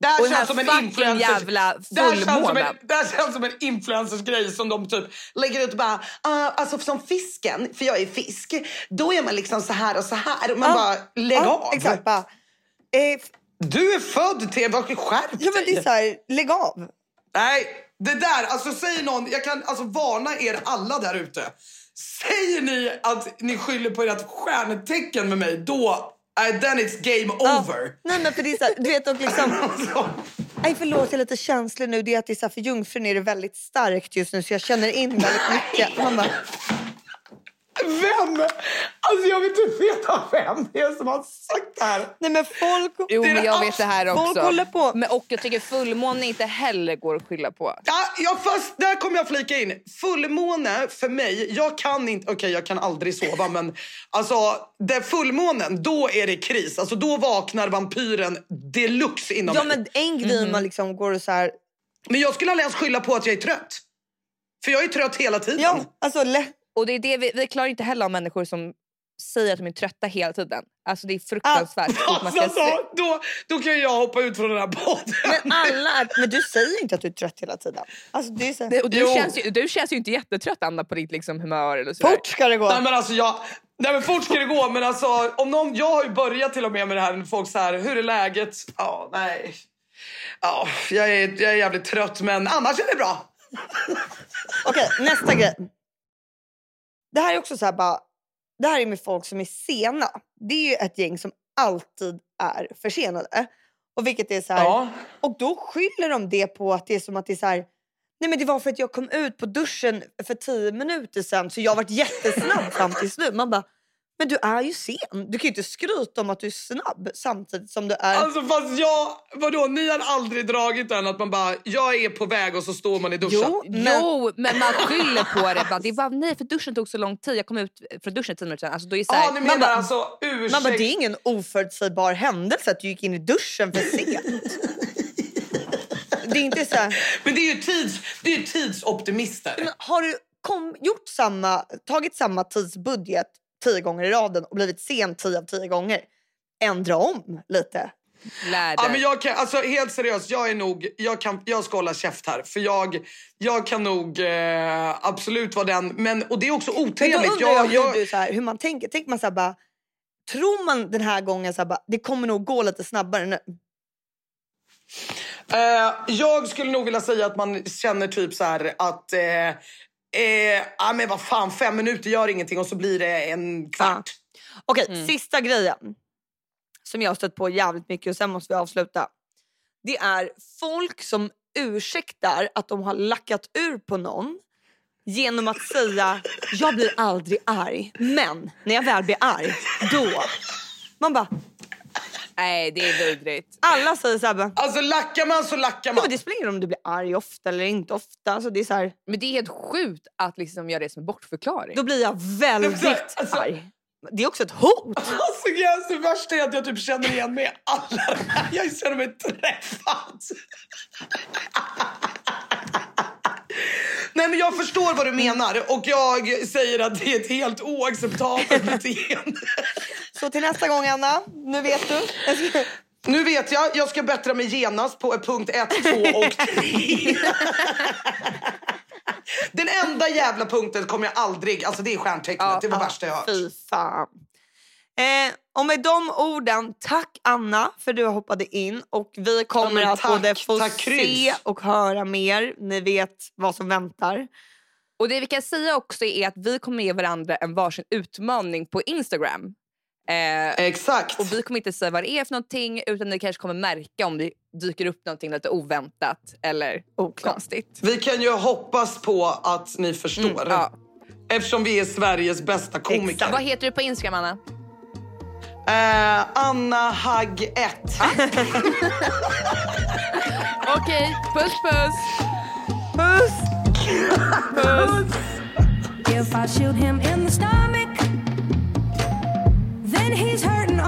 [SPEAKER 3] det här
[SPEAKER 2] Och den
[SPEAKER 3] känns
[SPEAKER 2] här
[SPEAKER 3] som en
[SPEAKER 2] fucking
[SPEAKER 3] influencer...
[SPEAKER 2] jävla
[SPEAKER 3] Det här, känns som en,
[SPEAKER 2] fullmånen.
[SPEAKER 3] det här känns som en influencers grej som de typ lägger ut och bara, "Ah, alltså som fisken, för jag är fisk, då är man liksom så här och så här. Och man
[SPEAKER 1] Ja.
[SPEAKER 3] bara, lägg
[SPEAKER 1] ja,
[SPEAKER 3] av!
[SPEAKER 1] Ah, Exakt, bara, eh, f-
[SPEAKER 3] Du är född till, vad- skärp
[SPEAKER 1] ja, men det är
[SPEAKER 3] dig.
[SPEAKER 1] så här, lägg av.
[SPEAKER 3] Nej, det där, alltså säger någon, jag kan alltså varna er alla där ute. Säger ni att ni skyller på ert stjärntecken med mig, då, nej, then it's game
[SPEAKER 1] Ah.
[SPEAKER 3] over.
[SPEAKER 1] Nej men för det är så här, du vet och liksom,
[SPEAKER 3] Alltså,
[SPEAKER 1] nej förlåt jag är lite känslig nu, det är att det är så här, för jungfrun är det väldigt starkt just nu så jag känner in väldigt mycket. Man bara,
[SPEAKER 3] vem? Alltså jag vill inte veta vem det är som har sagt det här.
[SPEAKER 1] nej men folk,
[SPEAKER 2] Jo,
[SPEAKER 3] Det är
[SPEAKER 2] men
[SPEAKER 3] det
[SPEAKER 2] jag vet det här
[SPEAKER 1] folk
[SPEAKER 2] också.
[SPEAKER 1] håller på.
[SPEAKER 2] Men, och jag tycker fullmåne inte heller går att skylla på.
[SPEAKER 3] Ja, jag fast, där kommer jag flika in. Fullmåne för mig, jag kan inte, okej jag kan aldrig sova men alltså det fullmånen, då är det kris. Alltså då vaknar vampyren deluxe inom
[SPEAKER 1] ja
[SPEAKER 3] mig.
[SPEAKER 1] men en grej
[SPEAKER 2] Mm-hmm.
[SPEAKER 1] man liksom går och så här,
[SPEAKER 3] Men jag skulle aldrig ens skylla på att jag är trött. För jag är trött hela tiden.
[SPEAKER 1] ja alltså lätt,
[SPEAKER 2] Och det är det vi, vi klarar inte heller av människor som säger att de är trötta hela tiden. Alltså det är fruktansvärt. att man
[SPEAKER 3] Alltså,
[SPEAKER 2] ska se-
[SPEAKER 3] alltså, då, då kan ju jag hoppa ut från den här podden.
[SPEAKER 1] men alla, är- men du säger inte att du är trött hela tiden. Alltså det är så här,
[SPEAKER 2] Det- och du,
[SPEAKER 3] Jo.
[SPEAKER 2] känns ju, du känns ju inte jättetrött Anna på ditt liksom, humör eller sådär.
[SPEAKER 1] fort ska det gå.
[SPEAKER 3] Nej men alltså jag... Nej men fort ska det gå men alltså om någon, jag har ju börjat till och med med det här när folk så här hur är läget? Ja nej. Ja jag är, jag är jävligt trött men annars är det bra.
[SPEAKER 1] Okej, nästa grej. Det här är också så här bara... Det här är med folk som är sena. Det är ju ett gäng som alltid är försenade. Och vilket är så här, Och då skyller de det på att det är som att det är så här... Nej men det var för att jag kom ut på duschen för tio minuter sedan så jag har varit jättesnabb fram tills nu. Man bara, men du är ju sen. Du kan ju inte skryta om att du är snabb samtidigt som du är...
[SPEAKER 3] Alltså fast jag, vadå ni har aldrig dragit den att man bara jag är på väg och så står man i duschen.
[SPEAKER 1] Jo, men-
[SPEAKER 2] Jo, men man skyller på det. Bara, det var, nej, för duschen tog så lång tid. Jag kom ut från duschen tio minuter sedan. Alltså, då är det så
[SPEAKER 3] Ja
[SPEAKER 2] här,
[SPEAKER 3] ah, ni
[SPEAKER 1] man
[SPEAKER 3] menar
[SPEAKER 1] bara-
[SPEAKER 3] alltså ursäkt.
[SPEAKER 1] Man bara, det är ingen oförutsägbar händelse att du gick in i duschen för sent. det är inte så här,
[SPEAKER 3] Men det är ju tids, det är ju tidsoptimister.
[SPEAKER 1] men har du kom, gjort samma, tagit samma tidsbudget tio gånger i raden och blivit sen tio av tio gånger? Ändra om lite.
[SPEAKER 2] lär
[SPEAKER 3] Ja,
[SPEAKER 2] dig.
[SPEAKER 3] men jag kan, alltså, helt seriöst, jag är nog, jag, kan, jag ska hålla käft här. För jag, jag kan nog eh, absolut vara den. Men, och det är också
[SPEAKER 1] Men då
[SPEAKER 3] otrevligt.
[SPEAKER 1] undrar jag,
[SPEAKER 3] Jag,
[SPEAKER 1] hur,
[SPEAKER 3] jag,
[SPEAKER 1] du, så här, hur man tänker. Tänk man så här, bara, tror man den här gången så här, bara, det kommer nog gå lite snabbare nu?
[SPEAKER 3] eh, jag skulle nog vilja säga att man känner typ så här att... Eh, eh, ah, men vad fan, fem minuter gör ingenting och så blir det en kvart.
[SPEAKER 1] Okej, sista grejen som jag har stött på jävligt mycket och sen måste vi avsluta. Det är folk som ursäktar att de har lackat ur på någon genom att säga jag blir aldrig arg, men när jag väl blir arg, då. Man bara,
[SPEAKER 2] Nej, det är vidrigt.
[SPEAKER 1] alla säger så här, bara,
[SPEAKER 3] Alltså lackar man så lackar
[SPEAKER 1] ja,
[SPEAKER 3] man.
[SPEAKER 1] men det spelar ingen roll om du blir arg ofta eller inte ofta. Alltså, det är så här,
[SPEAKER 2] Men det är helt sjukt att liksom göra det som en bortförklaring.
[SPEAKER 1] då blir jag väldigt
[SPEAKER 3] Alltså-
[SPEAKER 1] arg. Det är också ett hot.
[SPEAKER 3] Alltså, yes, det värsta är att jag typ känner igen mig i alla de här. Jag känner mig träffad. Nej, men jag förstår vad du menar och jag säger att det är ett helt oacceptabelt beteende.
[SPEAKER 1] Så till nästa gång, Anna. Nu vet du.
[SPEAKER 3] Nu vet jag, jag ska bättra mig genast på punkt 1, 2 och 3. Den enda jävla punkten kommer jag aldrig... Alltså det är stjärntecknet, det var det värsta jag har hört.
[SPEAKER 1] Fy fan. Eh, och med de orden, tack Anna för du hoppade in. Och vi kommer
[SPEAKER 3] men
[SPEAKER 1] att
[SPEAKER 3] tack,
[SPEAKER 1] både få
[SPEAKER 3] tack,
[SPEAKER 1] se
[SPEAKER 3] Kryds.
[SPEAKER 1] och höra mer. Ni vet vad som väntar.
[SPEAKER 2] Och det vi kan säga också är att vi kommer ge varandra en varsin utmaning på Instagram. Eh,
[SPEAKER 3] Exakt.
[SPEAKER 2] och vi kommer inte säga vad det är för någonting utan ni kanske kommer märka om det dyker upp någonting lite oväntat eller
[SPEAKER 1] Oklart.
[SPEAKER 2] konstigt.
[SPEAKER 3] Vi kan ju hoppas på att ni förstår.
[SPEAKER 2] Mm, Ja.
[SPEAKER 3] Eftersom vi är Sveriges bästa komiker.
[SPEAKER 2] Vad heter du på Instagram Anna?
[SPEAKER 3] Eh, Anna Hagg 1.
[SPEAKER 2] Okej, puss puss!
[SPEAKER 1] Puss!
[SPEAKER 4] If I shoot him in the stomach, then he's hurting